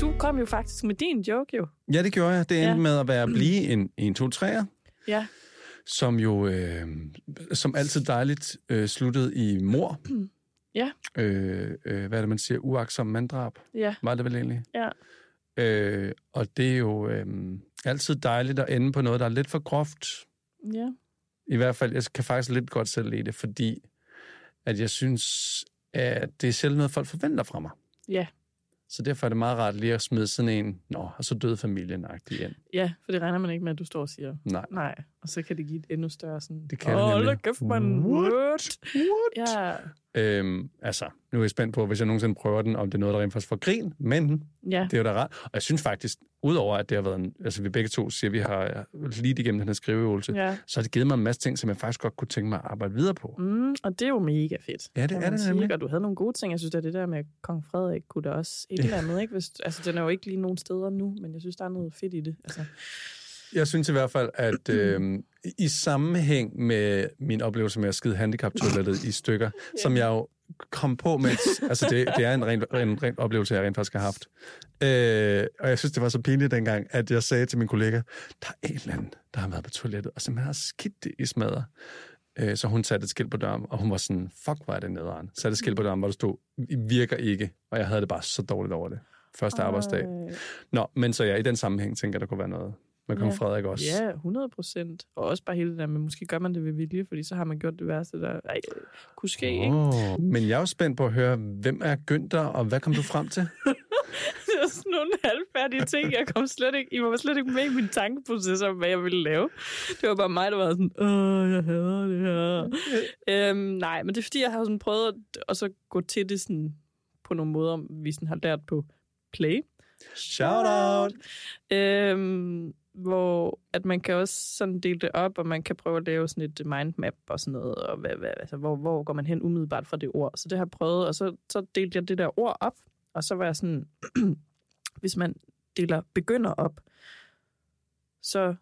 Speaker 1: Du kom jo faktisk med din joke, jo.
Speaker 5: ja, det gjorde jeg. Det endte
Speaker 1: Ja.
Speaker 5: ja. med at være at blive en, en 2 3'er,
Speaker 1: Ja.
Speaker 5: som jo øh, som altid dejligt øh, sluttede i mor.
Speaker 1: Ja.
Speaker 5: Øh, øh, hvad er det, man siger? Uagtsom manddrab.
Speaker 1: Ja.
Speaker 5: Var det vel egentlig?
Speaker 1: Ja.
Speaker 5: Øh, og det er jo øh, altid dejligt at ende på noget, der er lidt for groft,
Speaker 1: Ja.
Speaker 5: i hvert fald, jeg kan faktisk lidt godt selv lide det, fordi at jeg synes, at det er selv noget, folk forventer fra mig.
Speaker 1: Ja.
Speaker 5: Så derfor er det meget rart lige at smide sådan en, nå, og så døde familien ind.
Speaker 1: Ja, for det regner man ikke med, at du står og siger.
Speaker 5: Nej.
Speaker 1: Nej, og så kan det give et endnu større sådan...
Speaker 5: Det kan det
Speaker 1: Åh,
Speaker 5: nemlig.
Speaker 1: hold da kæft, man.
Speaker 5: What?
Speaker 1: What?
Speaker 5: What?
Speaker 1: Ja,
Speaker 5: Øhm, altså, nu er jeg spændt på, hvis jeg nogensinde prøver den, om det er noget, der rent faktisk får grin, men
Speaker 1: ja,
Speaker 5: det er jo da rart. Og jeg synes faktisk, udover at det har været en, altså vi begge to siger, at vi har lige igennem den her skriveøvelse, ja.
Speaker 1: ja.
Speaker 5: så har det givet mig en masse ting, som jeg faktisk godt kunne tænke mig at arbejde videre på.
Speaker 1: Mm, og det er jo mega fedt.
Speaker 5: Ja, det
Speaker 1: kan
Speaker 5: er
Speaker 1: man
Speaker 5: det
Speaker 1: sige,
Speaker 5: nemlig.
Speaker 1: ikke? Og du havde nogle gode ting. Jeg synes, at det der med Kong Frederik kunne da også et eller andet. Ikke? Hvis, altså, den er jo ikke lige nogen steder nu, men jeg synes, der er noget fedt i det. Altså,
Speaker 5: Jeg synes i hvert fald, at øh, i sammenhæng med min oplevelse med at skide handicaptoilettet i stykker, yeah. som jeg jo kom på, mens, altså det, det er en ren, ren, ren oplevelse, jeg rent faktisk har haft. Øh, og jeg synes, det var så pinligt dengang, at jeg sagde til min kollega, der er en eller anden, der har været på toilettet, og simpelthen har skidt det i smadret. Øh, så hun satte et skilt på døren, og hun var sådan, fuck, hvor er det nederen. Satte et skilt på døren, hvor der stod, "I virker ikke, og jeg havde det bare så dårligt over det. Første arbejdsdag.
Speaker 1: øh,
Speaker 5: Nå, men så ja, i den sammenhæng tænker jeg, der kunne være noget med kong
Speaker 1: Ja.
Speaker 5: Frederik også.
Speaker 1: Ja, 100 procent. Og også bare hele det der med, måske gør man det ved vilje, fordi så har man gjort det værste, der ej, kunne ske. Ikke?
Speaker 5: Oh, men jeg er jo spændt på at høre, hvem er Günther, og hvad kom du frem til?
Speaker 1: Det er sådan nogle halvfærdige ting. Jeg kom slet ikke, I var slet ikke med i min tankeproces om, hvad jeg ville lave. Det var bare mig, der var sådan, åh, jeg hader det her. øhm, nej, men det er fordi, jeg har sådan prøvet at, og så gå til det sådan, på nogle måder, vi sådan har lært på play.
Speaker 5: Shout out!
Speaker 1: Øhm, hvor at man kan også sådan dele det op, og man kan prøve at lave sådan et mindmap og sådan noget, og hvad, hvad, altså, hvor, hvor går man hen umiddelbart fra det ord. Så det har jeg prøvet, og så, så delte jeg det der ord op, og så var jeg sådan, hvis man deler begynder op, så,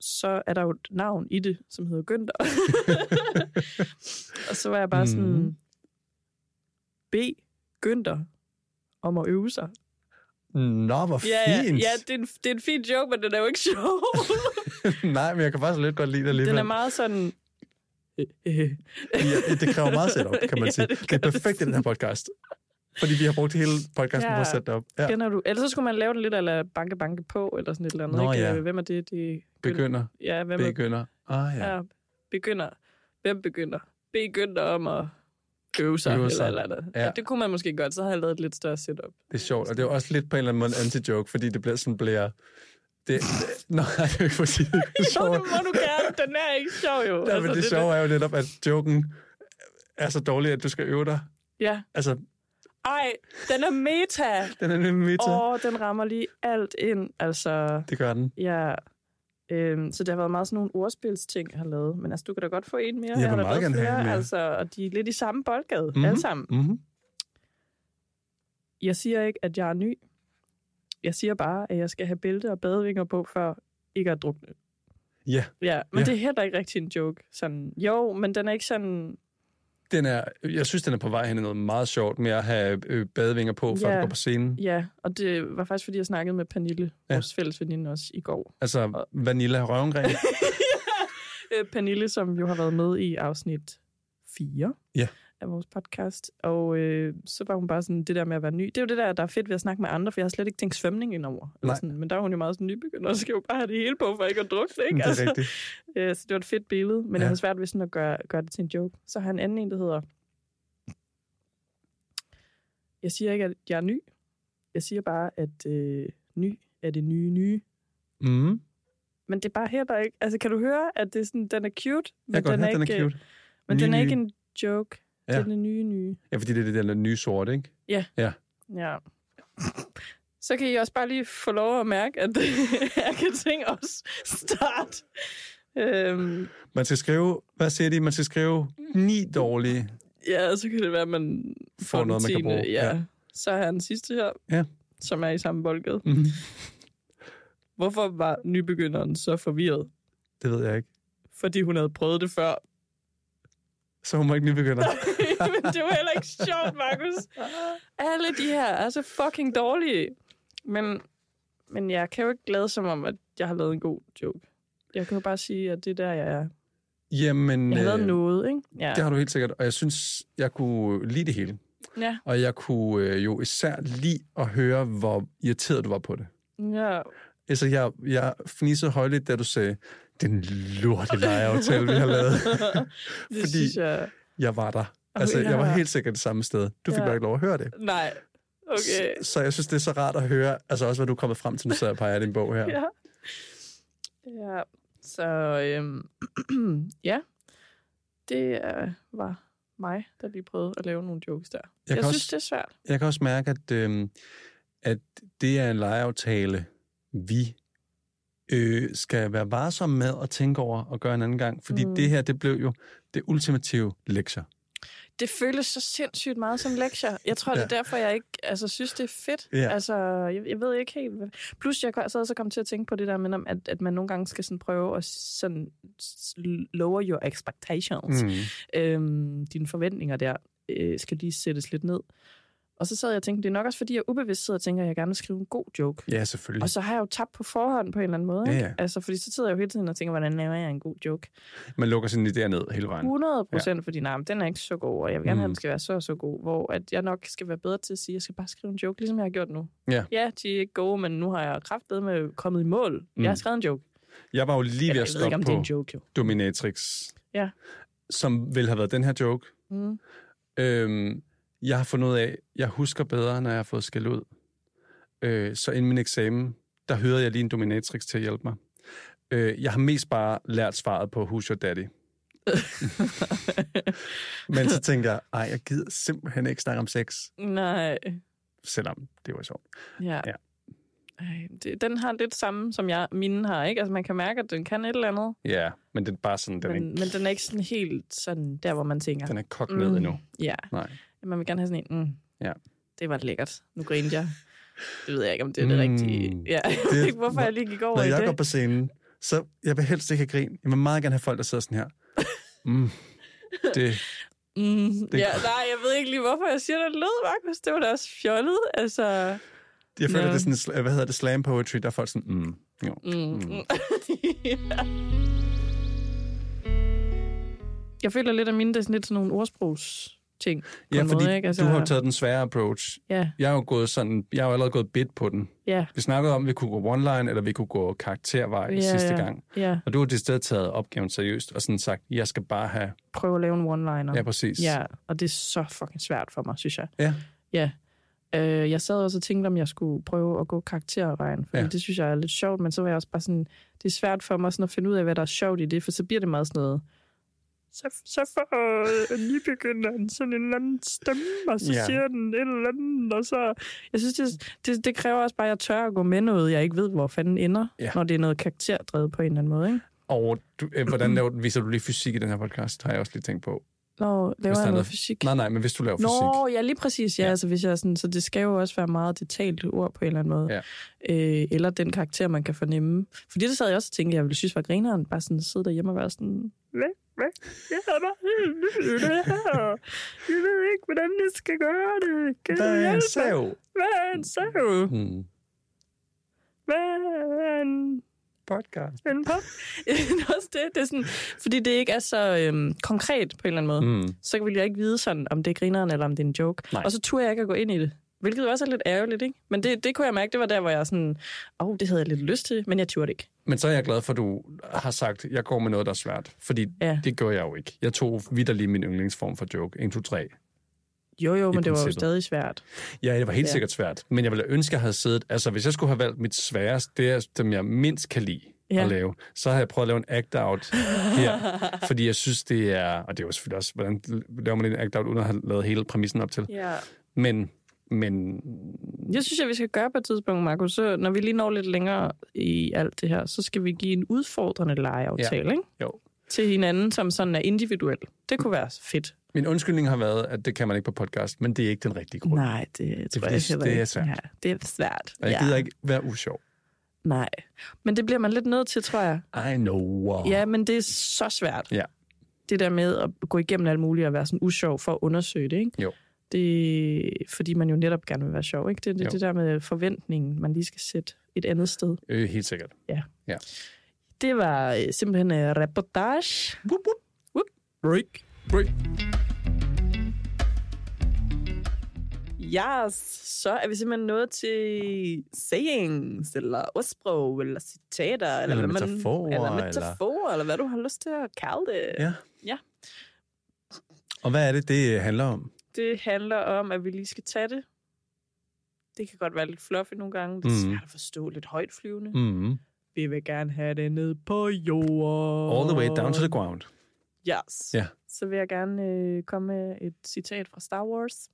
Speaker 1: så er der jo et navn i det, som hedder Günther. og så var jeg bare sådan,
Speaker 5: Mhm.
Speaker 1: B. Günther om at øve sig.
Speaker 5: Nå, hvor
Speaker 1: Ja, ja,
Speaker 5: fint!
Speaker 1: ja det, er en, det er en fin joke, men den er jo ikke sjov.
Speaker 5: Nej, men jeg kan faktisk lidt godt lide det alligevel.
Speaker 1: den er meget sådan...
Speaker 5: ja, det kræver meget setup, kan man
Speaker 1: Ja,
Speaker 5: ja, sige.
Speaker 1: det
Speaker 5: Det,
Speaker 1: gør
Speaker 5: er
Speaker 1: det.
Speaker 5: perfekt i den her podcast. Fordi vi har brugt hele
Speaker 1: Ja.
Speaker 5: podcasten ja. på at sætte det op. Ja.
Speaker 1: Kender du? Ellers så skulle man lave den lidt, eller banke, banke på, eller sådan et eller andet.
Speaker 5: Nå,
Speaker 1: ikke?
Speaker 5: ja.
Speaker 1: Øh, Hvem er det? det
Speaker 5: Begynder,
Speaker 1: Ja, hvem er,
Speaker 5: begynder. Ah, ja.
Speaker 1: ja. begynder. Hvem begynder? Begynder om at øve sig,
Speaker 5: Øve
Speaker 1: øve sig.
Speaker 5: sig.
Speaker 1: eller eller andet. Ja.
Speaker 5: Ja.
Speaker 1: ja. det kunne man måske godt, så havde jeg lavet et lidt større setup.
Speaker 5: Det er sjovt, og det er jo også lidt på en eller anden måde en anti-joke, fordi det bliver sådan bliver... Det, det, nej, jeg kan ikke få sige det. Det er
Speaker 1: Jo,
Speaker 5: sjovt.
Speaker 1: det må du altså gerne. Den er ikke sjov, jo.
Speaker 5: Ja, men det
Speaker 1: er
Speaker 5: sjove er jo netop, at joken er så dårlig, at du skal øve dig.
Speaker 1: Ja.
Speaker 5: Altså,
Speaker 1: Ej, den er meta.
Speaker 5: den er nemlig meta.
Speaker 1: Åh, oh, den rammer lige alt ind. Altså,
Speaker 5: Det gør den.
Speaker 1: Ja, øhm, så det har været meget sådan nogle ordspilsting, jeg har lavet. Men altså, du kan da godt få en mere.
Speaker 5: vil
Speaker 1: har da
Speaker 5: meget
Speaker 1: lavet
Speaker 5: gerne have
Speaker 1: flere,
Speaker 5: en mere.
Speaker 1: Altså, og de er lidt i samme boldgade,
Speaker 5: Mhm.
Speaker 1: mm-hmm. alle sammen.
Speaker 5: Mm-hmm.
Speaker 1: Jeg siger ikke, at jeg er ny. Jeg siger bare, at jeg skal have bælte og badevinger på, før ikke at drukne.
Speaker 5: Ja,
Speaker 1: Ja, men
Speaker 5: Ja.
Speaker 1: ja. det er heller ikke rigtig en joke. Sådan, jo, men den er ikke sådan...
Speaker 5: den er, jeg synes, den er på vej hen i noget meget sjovt med at have øh, badevinger på, før
Speaker 1: Ja.
Speaker 5: du går på scenen.
Speaker 1: Ja, og det var faktisk, fordi jeg snakkede med Pernille, ja.
Speaker 5: Ja.
Speaker 1: vores fælles veninde også, i går.
Speaker 5: Altså, vanilla røvengren.
Speaker 1: Øh, Pernille, som jo har været med i afsnit 4
Speaker 5: Ja.
Speaker 1: af vores podcast. Og øh, så var hun bare sådan, det der med at være ny. Det er jo det der, der er fedt ved at snakke med andre, for jeg har slet ikke tænkt svømning indover. Eller
Speaker 5: Nej.
Speaker 1: sådan. Men der er hun jo meget sådan nybegynder, og skal jo bare have det hele på, for ikke at drukne. Ikke? Altså,
Speaker 5: det er rigtigt.
Speaker 1: øh, så det var et fedt billede, men ja.
Speaker 5: Ja.
Speaker 1: jeg har svært ved sådan at gøre, gøre det til en joke. Så har jeg en anden en, der hedder Jeg siger ikke, at jeg er ny. Jeg siger bare, at øh, ny er det nye nye.
Speaker 5: Mm.
Speaker 1: Men det er bare heller ikke... Altså, kan du høre, at det er sådan, den er cute, men,
Speaker 5: Jeg kan godt
Speaker 1: den, er
Speaker 5: have, den
Speaker 1: ikke,
Speaker 5: er cute.
Speaker 1: men
Speaker 5: Nye,
Speaker 1: den er
Speaker 5: nye.
Speaker 1: ikke en joke. Ja.
Speaker 5: Ja.
Speaker 1: Det er den nye nye.
Speaker 5: Ja, fordi det er det der nye sort, ikke?
Speaker 1: Ja. Så kan I også bare lige få lov at mærke, at jeg kan tænke også start. Øhm,
Speaker 5: Man skal skrive, hvad siger de? Man skal skrive ni dårlige.
Speaker 1: ja, så kan det være, at man får,
Speaker 5: Får
Speaker 1: den
Speaker 5: noget, man kan
Speaker 1: tiende.
Speaker 5: bruge.
Speaker 1: Ja.
Speaker 5: Ja.
Speaker 1: ja. Så har jeg den sidste her,
Speaker 5: Ja.
Speaker 1: som er i samme boldgade.
Speaker 5: Mhm.
Speaker 1: Hvorfor var nybegynderen så forvirret?
Speaker 5: Det ved jeg ikke.
Speaker 1: Fordi hun havde prøvet det før.
Speaker 5: Så hun må ikke nybegynder.
Speaker 1: Men det var heller ikke sjovt, Markus. Alle de her er så fucking dårlige. Men, men jeg kan jo ikke glæde som om, at jeg har lavet en god joke. Jeg kan jo bare sige, at det er der, jeg er.
Speaker 5: Jamen,
Speaker 1: Jeg har lavet
Speaker 5: øh,
Speaker 1: noget, ikke? Ja.
Speaker 5: det har du helt sikkert. Og jeg synes, jeg kunne lide det hele.
Speaker 1: Ja.
Speaker 5: Og jeg kunne øh, jo især lide at høre, hvor irriteret du var på det.
Speaker 1: ja.
Speaker 5: Altså, jeg, jeg fnissede højligt, da du sagde, den lorte lejeaftale, vi har lavet.
Speaker 1: Det
Speaker 5: Fordi-
Speaker 1: Fordi... synes jeg...
Speaker 5: jeg var der. Altså,
Speaker 1: ja.
Speaker 5: jeg var helt sikkert det samme sted. Du fik
Speaker 1: Ja.
Speaker 5: bare ikke lov at høre det.
Speaker 1: Nej. Okay.
Speaker 5: Så, så jeg synes, det er så rart at høre, altså også, hvad du er kommet frem til, når jeg peger din bog her.
Speaker 1: Ja. Ja. Så øhm, ja. Det øh, var mig, der lige prøvede at lave nogle jokes der. Jeg,
Speaker 5: Jeg,
Speaker 1: jeg
Speaker 5: kan
Speaker 1: synes,
Speaker 5: også,
Speaker 1: det er svært.
Speaker 5: jeg kan også mærke, at, øhm, at det er en lejeaftale, vi øh, skal være varsomme med at tænke over og gøre en anden gang. Fordi mm.
Speaker 1: Mm.
Speaker 5: det her, det blev jo det ultimative lektier.
Speaker 1: det føles så sindssygt meget som lektier. Jeg tror, det er derfor, jeg ikke altså, synes, det er fedt.
Speaker 5: Ja.
Speaker 1: Altså, jeg, jeg ved ikke helt. Hvad... Plus, jeg sad så kom til at tænke på det der med, om, at, at man nogle gange skal sådan prøve at sådan s- lower your expectations. Mm. Øhm, dine forventninger der øh, skal lige sættes lidt ned. Og så sad jeg og tænkte, det er nok også fordi, jeg ubevidst sidder og tænker, at jeg gerne vil skrive en god joke.
Speaker 5: Ja, selvfølgelig.
Speaker 1: Og så har jeg jo tabt på forhånd på en eller anden måde.
Speaker 5: Ja,
Speaker 1: ikke?
Speaker 5: ja.
Speaker 1: Altså, fordi så sidder jeg jo hele tiden og tænker, hvordan laver jeg en god joke?
Speaker 5: Man lukker sine idéer ned hele vejen.
Speaker 1: 100 procent, ja. fordi nej, men den er ikke så god, og jeg vil gerne mm.
Speaker 5: Mm.
Speaker 1: have, den skal være så og så god, hvor at jeg nok skal være bedre til at sige, at jeg skal bare skrive en joke, ligesom jeg har gjort nu.
Speaker 5: Ja.
Speaker 1: ja de er ikke gode, men nu har jeg kraftet med kommet i mål. Mm.
Speaker 5: Mm.
Speaker 1: Jeg har skrevet en joke.
Speaker 5: Jeg var jo lige ved
Speaker 1: Eller,
Speaker 5: at
Speaker 1: jeg ved ikke,
Speaker 5: stoppe
Speaker 1: om det er
Speaker 5: på
Speaker 1: en joke, jo.
Speaker 5: Dominatrix.
Speaker 1: Ja.
Speaker 5: Som ville have været den her joke,
Speaker 1: Mm.
Speaker 5: Øhm, jeg har fundet ud af, jeg husker bedre, når jeg har fået skæld ud. Øh, så inden min eksamen, der hørte jeg lige en dominatrix til at hjælpe mig. Øh, jeg har mest bare lært svaret på Who's Your Daddy. Men så tænker jeg, ej, jeg gider simpelthen ikke snakke om sex,
Speaker 1: Mm. Nej,
Speaker 5: selvom det var sjovt.
Speaker 1: ja.
Speaker 5: Ja.
Speaker 1: ja. Ej, det, den har lidt samme, som jeg, mine har, ikke? Altså, man kan mærke, at den kan et eller andet,
Speaker 5: Ja, men det er bare sådan, den,
Speaker 1: men,
Speaker 5: er, ikke-
Speaker 1: men den er ikke sådan helt sådan der, hvor man tænker,
Speaker 5: den er kogt
Speaker 1: Mm.
Speaker 5: ned endnu.
Speaker 1: ja,
Speaker 5: Nej.
Speaker 1: man vil gerne have sådan en, mm,
Speaker 5: Ja.
Speaker 1: det var lækkert, nu grinede jeg. Det ved jeg ikke, om det er det
Speaker 5: Mm.
Speaker 1: rigtige. Ja, jeg ved
Speaker 5: Det-
Speaker 1: ikke, hvorfor jeg lige gik over
Speaker 5: Når
Speaker 1: i
Speaker 5: jeg
Speaker 1: det.
Speaker 5: går på scenen, så jeg vil helst ikke have grin. Jeg vil meget gerne have folk, der sidder sådan her. Mm. Det,
Speaker 1: Mm,
Speaker 5: er
Speaker 1: ja,
Speaker 5: godt.
Speaker 1: nej, jeg ved ikke lige, hvorfor jeg siger, det lød, Markus. Det var da også fjollet. Altså,
Speaker 5: jeg føler,
Speaker 1: Nå.
Speaker 5: det er sådan, hvad hedder det, slam poetry, der er folk sådan, mm. Jo.
Speaker 1: mm, mm. jeg føler lidt, at mine det er sådan lidt sådan nogle ordsprogs ting.
Speaker 5: Ja, fordi
Speaker 1: måde, ikke? Altså-
Speaker 5: du har jo taget den svære approach.
Speaker 1: Ja,
Speaker 5: Jeg har jo gået sådan, jeg har jo allerede gået bit på den.
Speaker 1: ja,
Speaker 5: Vi snakkede om, at vi kunne gå one-line, eller vi kunne gå karaktervej
Speaker 1: Ja,
Speaker 5: ja, sidste
Speaker 1: ja.
Speaker 5: gang.
Speaker 1: ja.
Speaker 5: Og du har det sted taget opgaven seriøst, og sådan sagt, jeg skal bare have...
Speaker 1: Prøv at lave en one-liner.
Speaker 5: Ja, præcis.
Speaker 1: ja, og det er så fucking svært for mig, synes jeg.
Speaker 5: Ja.
Speaker 1: Ja. Øh, jeg sad også og tænkte, om jeg skulle prøve at gå karaktervejen, for
Speaker 5: Ja.
Speaker 1: ja. det synes jeg er lidt sjovt, men så var jeg også bare sådan, det er svært for mig sådan at finde ud af, hvad der er sjovt i det, for så bliver det meget sådan noget, så, så får øh, nybegynderen sådan en eller anden stemme, og så
Speaker 5: Ja.
Speaker 1: ja. siger den et eller andet, og så... Jeg synes, det, det, det kræver også bare, at jeg tør at gå med noget, jeg ikke ved, hvor fanden ender,
Speaker 5: Ja.
Speaker 1: ja. når det er noget karakterdrevet på en eller anden måde, ikke?
Speaker 5: Og du, øh, hvordan laver, viser du lige fysik i den her podcast, har jeg også lige tænkt på.
Speaker 1: Nå,
Speaker 5: der
Speaker 1: laver jeg
Speaker 5: er
Speaker 1: noget
Speaker 5: noget-
Speaker 1: fysik?
Speaker 5: Nej, nej, men hvis du laver
Speaker 1: Nå,
Speaker 5: fysik.
Speaker 1: ja, lige præcis. Ja,
Speaker 5: Ja.
Speaker 1: ja. Altså, hvis jeg er sådan, så det skal jo også være meget detalt ord på en eller anden måde.
Speaker 5: Ja.
Speaker 1: Øh, eller den karakter, man kan fornemme. Fordi det sad jeg også og tænkte, jeg ville synes var grineren, bare sådan sidde derhjemme og være sådan... Hvad? Hvad? Jeg er bare helt ny i det her. Jeg ved ikke, hvordan jeg skal gøre det. Kan
Speaker 5: Der
Speaker 1: du
Speaker 5: er en
Speaker 1: hjælpe mig?
Speaker 5: sav.
Speaker 1: Hvad er en sav?
Speaker 5: Hmm.
Speaker 1: Hvad er en
Speaker 5: Podcast.
Speaker 1: en pop? også det, det er sådan, fordi det ikke er så øhm, konkret på en eller anden måde.
Speaker 5: Mm.
Speaker 1: så ville jeg ikke vide sådan, om det er grineren eller om det er en joke.
Speaker 5: Nej.
Speaker 1: Nej. Og så turde jeg ikke at gå ind i det. Hvilket jo også er lidt ærgerligt, ikke? Men det, det kunne jeg mærke, det var der, hvor jeg sådan, åh, oh, det havde jeg lidt lyst til, men jeg turde ikke.
Speaker 5: Men så er jeg glad for, at du har sagt, at jeg går med noget, der er svært. Fordi ja.
Speaker 1: Ja.
Speaker 5: det gør jeg jo ikke. Jeg tog vidderlig min yndlingsform for joke. 1, 2, 3.
Speaker 1: Jo, jo,
Speaker 5: I
Speaker 1: men det var jo
Speaker 5: princippet.
Speaker 1: stadig svært.
Speaker 5: Ja, det var helt
Speaker 1: Ja.
Speaker 5: ja. sikkert svært. Men jeg ville ønske, jeg havde siddet... Altså, hvis jeg skulle have valgt mit sværeste, det er, som jeg mindst kan lide
Speaker 1: Ja.
Speaker 5: ja. at lave, så har jeg prøvet at lave en act-out her. Fordi jeg synes, det er... Og det er jo selvfølgelig også, hvordan laver man en act-out, uden at have lavet hele præmissen op til.
Speaker 1: Ja.
Speaker 5: Men, men
Speaker 1: Jeg synes, at vi skal gøre på et tidspunkt, Marco. Så når vi lige når lidt længere i alt det her, så skal vi give en udfordrende legeaftale, ja. ikke?
Speaker 5: jo,
Speaker 1: Til hinanden, som sådan er individuel. Det kunne være fedt.
Speaker 5: min undskyldning har været, at det kan man ikke på podcast, men det er ikke den rigtige grund.
Speaker 1: Nej, det tror
Speaker 5: fordi,
Speaker 1: jeg heller
Speaker 5: det er
Speaker 1: ikke.
Speaker 5: svært.
Speaker 1: Ja, det er svært.
Speaker 5: Og jeg
Speaker 1: ja.
Speaker 5: gider ikke være usjov.
Speaker 1: Nej. Men det bliver man lidt nødt til, tror jeg.
Speaker 5: I know.
Speaker 1: Ja, men det er så svært.
Speaker 5: Ja.
Speaker 1: Det der med at gå igennem alt muligt og være sådan usjov for at undersøge det, ikke?
Speaker 5: Jo.
Speaker 1: Det, er- fordi man jo netop gerne vil være sjov, ikke? Det er
Speaker 5: Jo.
Speaker 1: det, det der med forventningen, man lige skal sætte et andet sted.
Speaker 5: Øh, helt sikkert.
Speaker 1: Det var øh, simpelthen øh, reportage. Wup, wup. Wup. Break.
Speaker 5: Break.
Speaker 1: Yes, så er vi simpelthen nået til sayings, eller ordsprog, eller citater, eller,
Speaker 5: Eller
Speaker 1: hvad man,
Speaker 5: metaforer,
Speaker 1: eller
Speaker 5: eller-
Speaker 1: metaforer, eller... eller hvad du har lyst til at kalde det.
Speaker 5: Ja.
Speaker 1: Ja.
Speaker 5: Og hvad er det, det øh, handler om?
Speaker 1: Det handler om, at vi lige skal tage det. Det kan godt være lidt fluffy nogle gange. Det er
Speaker 5: Mhm.
Speaker 1: svært at forstå. Lidt højtflyvende. Mm.
Speaker 5: Mm.
Speaker 1: Vi vil gerne have det ned på jorden.
Speaker 5: All the way down to the ground.
Speaker 1: Yes.
Speaker 5: Ja.
Speaker 1: Så vil jeg gerne øh, komme med et citat fra Star Wars.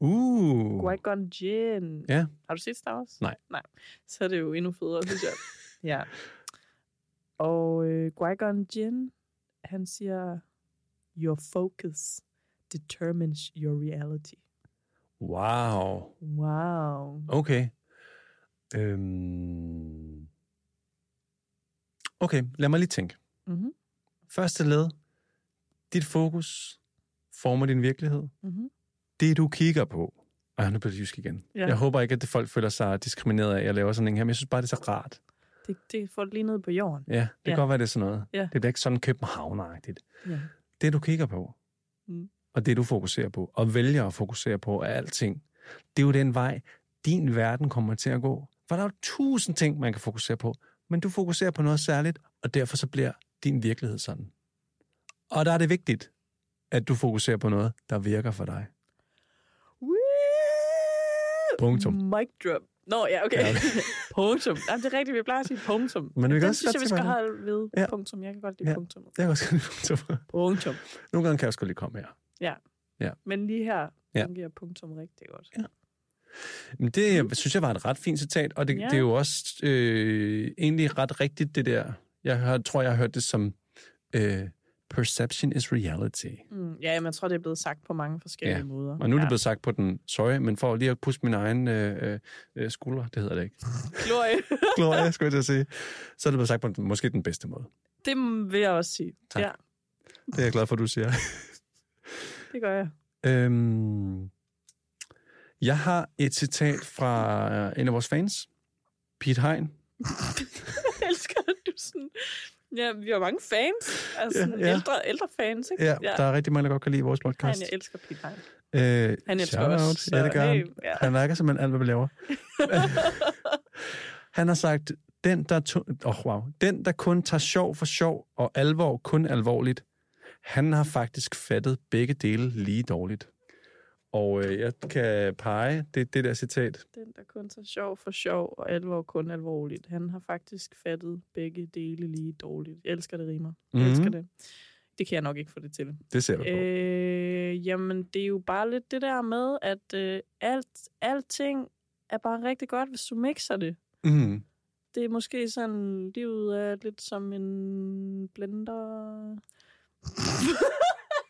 Speaker 5: Uh.
Speaker 1: Qui-Gon Jinn.
Speaker 5: Ja.
Speaker 1: Har du set Star Wars?
Speaker 5: Nej.
Speaker 1: Nej. Så er det jo endnu federe, synes jeg. ja. Og øh, Qui-Gon Jinn, han siger, Your focus determines your reality.
Speaker 5: Wow.
Speaker 1: Wow.
Speaker 5: Okay. Øhm. Okay, lad mig lige tænke.
Speaker 1: Mhm.
Speaker 5: Første led. Dit fokus former din virkelighed.
Speaker 1: Mhm.
Speaker 5: Det, du kigger på. Ej, nu bliver det jysk igen.
Speaker 1: Ja.
Speaker 5: Ja. Jeg håber ikke, at det folk føler sig diskrimineret af, at jeg laver sådan en her, men jeg synes bare, det er så rart.
Speaker 1: Det, det får det lige ned på jorden.
Speaker 5: Ja, det
Speaker 1: Ja.
Speaker 5: kan godt være, det er sådan noget.
Speaker 1: Ja.
Speaker 5: Det bliver ikke sådan københavneragtigt.
Speaker 1: Ja.
Speaker 5: Det, du kigger på,
Speaker 1: Mm.
Speaker 5: og det, du fokuserer på, og vælger at fokusere på, er alting. Det er jo den vej, din verden kommer til at gå. For der er jo tusind ting, man kan fokusere på, men du fokuserer på noget særligt, og derfor så bliver din virkelighed sådan. Og der er det vigtigt, at du fokuserer på noget, der virker for dig.
Speaker 1: Woo!
Speaker 5: Punktum.
Speaker 1: Mic drop. Nå, ja, okay.
Speaker 5: Ja,
Speaker 1: punktum. Jamen, det er rigtigt, vi plejer at sige punktum.
Speaker 5: Men vi kan
Speaker 1: Den
Speaker 5: også
Speaker 1: synes
Speaker 5: godt
Speaker 1: jeg, vi
Speaker 5: tage
Speaker 1: skal
Speaker 5: på den.
Speaker 1: holde ved. Ja.
Speaker 5: Ja.
Speaker 1: Punktum. Jeg kan godt lide ja.
Speaker 5: Ja.
Speaker 1: punktum.
Speaker 5: Det er også punktum.
Speaker 1: Punktum.
Speaker 5: Nogle gange kan jeg sgu lige komme her.
Speaker 1: Men lige her
Speaker 5: Ja.
Speaker 1: fungerer punktum rigtig godt.
Speaker 5: Men det synes jeg var et ret fint citat, og det,
Speaker 1: Ja.
Speaker 5: ja. det er jo også øh, egentlig ret rigtigt, det der. Jeg har, tror, jeg har hørt det som øh, perception is reality.
Speaker 1: Mm, ja, men jeg tror, det er blevet sagt på mange forskellige
Speaker 5: Ja.
Speaker 1: måder.
Speaker 5: Og nu er
Speaker 1: ja.
Speaker 5: det blevet sagt på den, sorry, men for lige at pusse min egen øh, øh, skulder, det hedder det ikke.
Speaker 1: Glorie.
Speaker 5: Gloria, skulle jeg til at sige. Så er det blevet sagt på den, måske den bedste måde.
Speaker 1: Det vil jeg også sige.
Speaker 5: Tak.
Speaker 1: Ja,
Speaker 5: Det er jeg glad for, du siger.
Speaker 1: det gør jeg.
Speaker 5: Øhm, jeg har et citat fra øh, en af vores fans, Pete Hein.
Speaker 1: jeg elsker, at du sådan... Ja, vi har mange fans. Altså,
Speaker 5: Ja,
Speaker 1: sådan
Speaker 5: ja.
Speaker 1: ældre, ældre fans, ikke?
Speaker 5: Ja, ja, der er rigtig mange, der godt kan lide vores
Speaker 1: Han,
Speaker 5: podcast.
Speaker 1: jeg elsker Pete Hein.
Speaker 5: Øh,
Speaker 1: Han elsker
Speaker 5: shout
Speaker 1: os.
Speaker 5: out. Ja, det gør han.
Speaker 1: hey, ja.
Speaker 5: Han mærker simpelthen alt, hvad vi laver. han har sagt, den der, tu- oh, wow. den, der kun tager sjov for sjov og alvor kun alvorligt, han har faktisk fattet begge dele lige dårligt. Og øh, jeg kan pege det, det der citat.
Speaker 1: Den, der kun tager sjov for sjov og alvor kun alvorligt. Han har faktisk fattet begge dele lige dårligt. Jeg elsker det rimer. Jeg
Speaker 5: Mhm.
Speaker 1: elsker det. Det kan jeg nok ikke få det til.
Speaker 5: Det ser vi på.
Speaker 1: Øh, jamen, det er jo bare lidt det der med, at øh, alt, alting er bare rigtig godt, hvis du mixer det.
Speaker 5: Mm.
Speaker 1: Det er måske sådan, livet er lidt som en blender.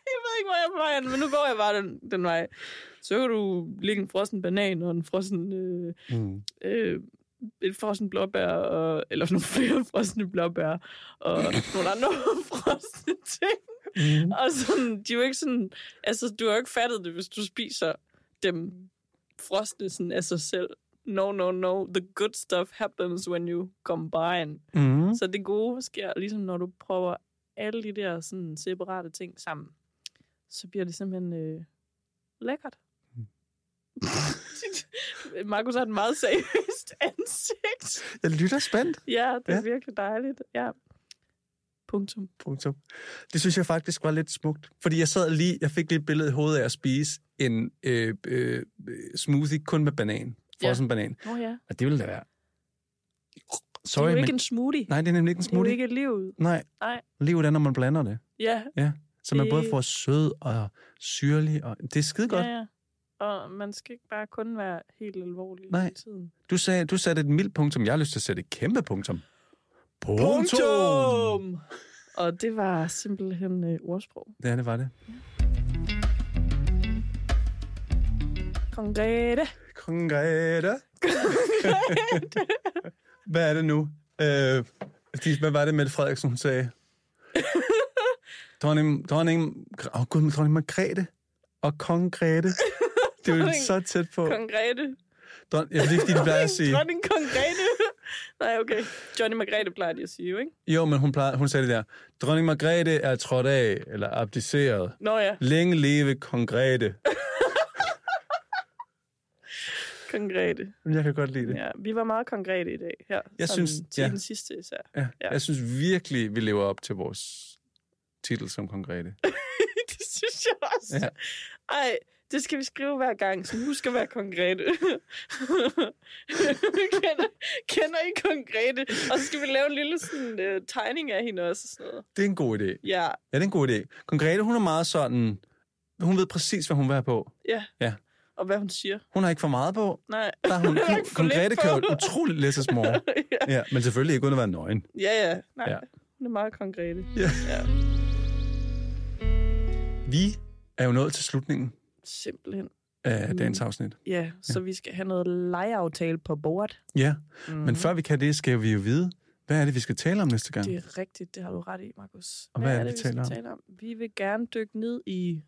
Speaker 1: jeg ved ikke, hvor jeg er på vej, hen, men nu går jeg bare den, den vej. Så kan du ligge en frossen banan og en frossen... Øh,
Speaker 5: Mm.
Speaker 1: øh, et frossen blåbær, og, eller nogle flere frosne blåbær, og nogle andre frosne ting.
Speaker 5: Mm.
Speaker 1: Og sådan, de er jo ikke sådan, altså du har jo ikke fattet det, hvis du spiser dem frosne sådan af sig selv. No, no, no. The good stuff happens when you combine.
Speaker 5: Mm.
Speaker 1: Så det gode sker, ligesom når du prøver alle de der sådan, separate ting sammen, så bliver det simpelthen øh, lækkert. Markus har et meget seriøst ansigt.
Speaker 5: Jeg lytter spændt.
Speaker 1: Ja, det er ja.
Speaker 5: Ja.
Speaker 1: virkelig dejligt. Ja. Punktum.
Speaker 5: Punktum. Det synes jeg faktisk var lidt smukt. Fordi jeg sad lige, jeg fik lige et billede i hovedet af at spise en øh, øh, smoothie kun med banan.
Speaker 1: Ja.
Speaker 5: Frossen ja. banan.
Speaker 1: Nå ja.
Speaker 2: Og det ville da være...
Speaker 1: Det er
Speaker 5: Sorry,
Speaker 1: jo ikke
Speaker 5: men...
Speaker 1: en smoothie.
Speaker 5: Nej, det er nemlig ikke en
Speaker 1: Det er jo
Speaker 5: smoothie.
Speaker 1: ikke livet.
Speaker 5: Nej.
Speaker 1: Nej.
Speaker 5: Livet er, når man blander det.
Speaker 1: Ja,
Speaker 5: Så man
Speaker 1: Det-
Speaker 5: både får sød og syrlig. Og... Det er skide godt.
Speaker 1: ja, ja. Og man skal ikke bare kun være helt alvorlig
Speaker 5: Nej.
Speaker 1: hele tiden.
Speaker 5: Du, sagde, du satte et mildt punktum. Jeg har lyst til at sætte et kæmpe punktum.
Speaker 1: Og det var simpelthen øh, ordsprog.
Speaker 5: Ja, det var det.
Speaker 1: Konkrete.
Speaker 5: Konkrete. Hvad er det nu? Øh, de- hvad var det, Mette Frederiksen hun sagde? dronning, dronning, oh, gud, dronning Margrethe og kong Grete. Det er jo
Speaker 1: Dronning-
Speaker 5: så tæt på.
Speaker 1: Konkrete.
Speaker 5: Dron, ja, det er fordi, de plejer at sige...
Speaker 1: Dronning Konkrete. Nej, okay. Johnny Margrethe plejer de at sige, jo, ikke?
Speaker 5: Jo, men hun, plejer, hun sagde det der. Dronning Margrethe er trådt af, eller abdiceret.
Speaker 1: Nå ja,
Speaker 5: Længe leve kong Grete.
Speaker 1: Konkrete.
Speaker 5: Jeg kan godt lide det.
Speaker 1: Ja, vi var meget konkrete i dag her.
Speaker 5: Jeg
Speaker 1: sådan
Speaker 5: synes-
Speaker 1: Til
Speaker 5: ja.
Speaker 1: den sidste især.
Speaker 5: Ja.
Speaker 1: Ja.
Speaker 5: Jeg synes virkelig, vi lever op til vores titel som konkrete.
Speaker 1: det synes jeg også.
Speaker 5: Ja.
Speaker 1: Ja. Ej, det skal vi skrive hver gang, så husk at være konkrete. kender, kender I konkrete? Og så skal vi lave en lille sådan, uh, tegning af hende også. Og sådan noget.
Speaker 5: Det er en god idé.
Speaker 1: Ja,
Speaker 5: Ja, det er en god idé. Konkrete, hun er meget sådan... Hun ved præcis, hvad hun vil have på.
Speaker 1: og hvad hun siger.
Speaker 5: Hun har ikke for meget på.
Speaker 1: Nej.
Speaker 5: Der er hun,
Speaker 1: Hun har ikke for
Speaker 5: konkrete
Speaker 1: lidt
Speaker 5: kan
Speaker 1: på.
Speaker 5: jo utroligt let sig små.
Speaker 1: ja.
Speaker 5: Ja, men selvfølgelig ikke uden at være nøgen.
Speaker 1: ja, ja. Nej,
Speaker 5: Ja.
Speaker 1: ja. hun er meget konkrete.
Speaker 5: Ja.
Speaker 1: ja.
Speaker 5: Vi er jo nået til slutningen
Speaker 1: Simpelthen.
Speaker 5: af
Speaker 1: Mm.
Speaker 5: dagens afsnit.
Speaker 1: Ja, så vi skal have noget lejeaftale på bordet.
Speaker 5: Ja,
Speaker 1: Mm.
Speaker 5: men før vi kan det, skal vi jo vide, hvad er det, vi skal tale om næste gang?
Speaker 1: Det er rigtigt, det har du ret i, Markus.
Speaker 5: Og hvad er det, vi
Speaker 1: skal
Speaker 5: taler om?
Speaker 1: tale om? Vi vil gerne dykke ned i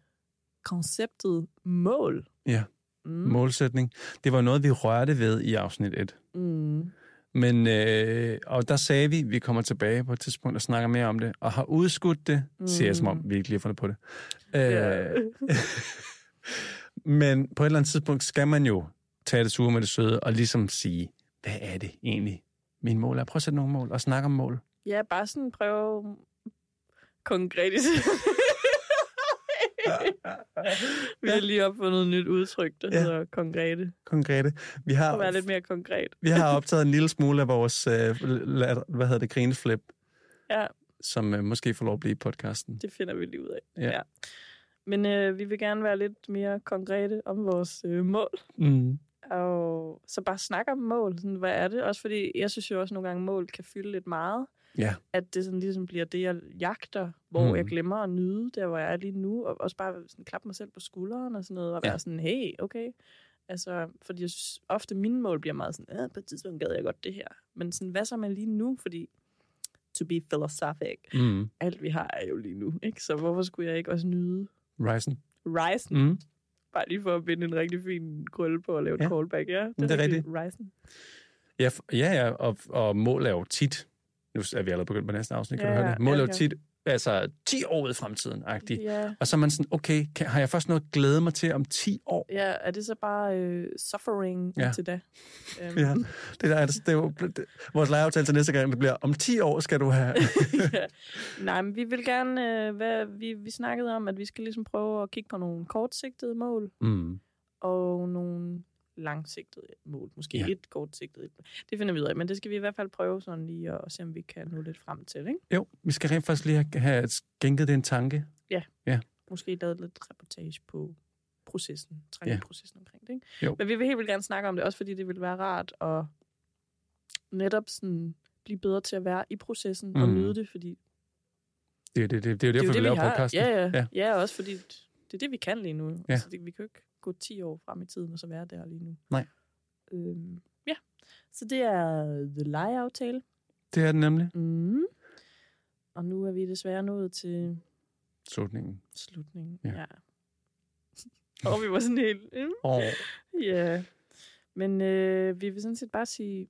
Speaker 1: konceptet mål.
Speaker 5: Ja.
Speaker 1: Mm.
Speaker 5: Målsætning. Det var noget, vi rørte ved i afsnit 1.
Speaker 1: Mm.
Speaker 5: Men, øh, og der sagde vi, at vi kommer tilbage på et tidspunkt og snakker mere om det, og har udskudt det, mm. siger jeg som om, vi ikke lige har fundet på det. Øh,
Speaker 1: Ja.
Speaker 5: men på et eller andet tidspunkt skal man jo tage det sure med det søde, og ligesom sige, hvad er det egentlig, min mål er? Prøv at sætte nogle mål og snakke om mål.
Speaker 1: ja, bare sådan prøve konkret. Vi har lige opfundet et nyt udtryk, der
Speaker 5: Ja.
Speaker 1: ja. hedder konkrete.
Speaker 5: Konkrete. Vi
Speaker 1: Og være
Speaker 5: har,
Speaker 1: lidt mere konkret.
Speaker 5: vi har optaget en lille smule af vores, øh, la- hvad hedder det, grineflip,
Speaker 1: Ja.
Speaker 5: som øh, måske får lov at blive i podcasten.
Speaker 1: Det finder vi lige ud af.
Speaker 5: Ja.
Speaker 1: Men øh, vi vil gerne være lidt mere konkrete om vores øh, mål.
Speaker 5: Mm.
Speaker 1: Og så bare snakke om mål. Sådan, hvad er det? Også fordi, jeg synes jo også nogle gange, mål kan fylde lidt meget.
Speaker 5: Ja.
Speaker 1: At det sådan ligesom bliver det, jeg jagter, hvor mm. jeg
Speaker 5: Mhm.
Speaker 1: glemmer at nyde der, hvor jeg er lige nu. Og også bare sådan, klappe mig selv på skulderen og sådan noget. Og
Speaker 5: Ja.
Speaker 1: ja. være sådan, hey, okay. Altså, fordi jeg synes, ofte mine mål bliver meget sådan, "Ah, på et tidspunkt gad jeg godt det her. Men sådan, hvad så med lige nu? Fordi, to be philosophic,
Speaker 5: Mm.
Speaker 1: alt vi har er jo lige nu. Ikke? Så hvorfor skulle jeg ikke også nyde
Speaker 5: Ryzen.
Speaker 1: rejsen?
Speaker 5: Mm.
Speaker 1: Bare lige for at binde en rigtig fin krølle på og lave
Speaker 5: Ja.
Speaker 1: et callback. Ja, det
Speaker 5: Det er
Speaker 1: Rejsen.
Speaker 5: Ja, f- ja, ja og, og mål er jo tit, nu er vi allerede begyndt på næste afsnit, kan
Speaker 1: Ja,
Speaker 5: du høre
Speaker 1: ja,
Speaker 5: det? Mål er
Speaker 1: ja,
Speaker 5: jo
Speaker 1: ja.
Speaker 5: tit, altså 10 år ud i fremtiden, agtigt.
Speaker 1: Ja.
Speaker 5: Og så er man sådan, okay, kan, har jeg først noget at glæde mig til om 10 år?
Speaker 1: ja, er det så bare øh, suffering
Speaker 5: Ja.
Speaker 1: ja. til da? Um,
Speaker 5: Ja, det, der, er- det, er jo, det, vores lejeaftale til næste gang, det bliver, om 10 år skal du have...
Speaker 1: ja. Nej, men vi vil gerne, øh, hvad, vi, vi snakkede om, at vi skal ligesom prøve at kigge på nogle kortsigtede mål
Speaker 5: Mm.
Speaker 1: og nogle langsigtede mål. Måske
Speaker 5: Ja.
Speaker 1: ja. et kortsigtet. et- Det finder vi ud af, men det skal vi i hvert fald prøve sådan lige at, se, om vi kan nå lidt frem til. Ikke?
Speaker 5: Jo, vi skal rent faktisk lige have, have skænket det en tanke.
Speaker 1: Måske lavet lidt reportage på processen, træningsprocessen omkring det. Ikke?
Speaker 5: Jo.
Speaker 1: Men vi vil helt vildt gerne snakke om det, også fordi det vil være rart at netop sådan blive bedre til at være i processen mm. og
Speaker 5: Mhm.
Speaker 1: nyde det, fordi
Speaker 5: Det, er det, det, det er jo derfor, det, vi laver podcasten.
Speaker 1: Ja, ja.
Speaker 5: Ja.
Speaker 1: ja. ja, også fordi det er det, vi kan lige nu.
Speaker 5: Ja.
Speaker 1: Ja. Altså, det, vi kan jo ikke gå 10 år frem i tiden og så være der lige nu.
Speaker 5: Nej.
Speaker 1: Øhm, ja, så det er The Lie-aftale.
Speaker 5: Det er det nemlig.
Speaker 1: Mm. Og nu er vi desværre nået til
Speaker 5: Slutningen.
Speaker 1: slutningen.
Speaker 5: Ja.
Speaker 1: Ja. ja. og vi var sådan helt... mm,
Speaker 5: Og
Speaker 1: Ja, men øh, vi vil sådan set bare sige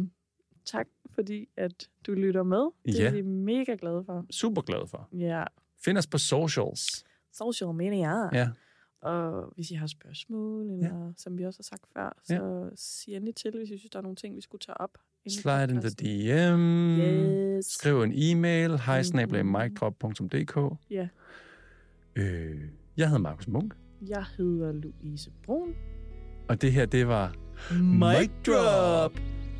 Speaker 1: tak, fordi at du lytter med. Det
Speaker 5: Ja.
Speaker 1: er vi mega glade for.
Speaker 5: super glad for.
Speaker 1: Ja,
Speaker 5: Find os på socials.
Speaker 1: social media.
Speaker 5: Ja.
Speaker 1: Og hvis I har spørgsmål, eller ja. som vi også har sagt før,
Speaker 5: Ja.
Speaker 1: så sig endelig til, hvis I synes, der er nogle ting, vi skulle tage op. inden for
Speaker 5: Slide in the
Speaker 1: podcasten.
Speaker 5: DM.
Speaker 1: Yes.
Speaker 5: Skriv en e-mail, hej
Speaker 1: Mhm.
Speaker 5: snabel.micdrop.dk.
Speaker 1: Ja.
Speaker 5: Øh, jeg hedder Markus Munk.
Speaker 1: Jeg hedder Louise Brun.
Speaker 5: Og det her, det var
Speaker 1: Mic Drop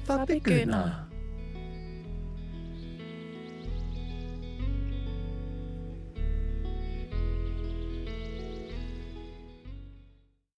Speaker 1: for begyndere.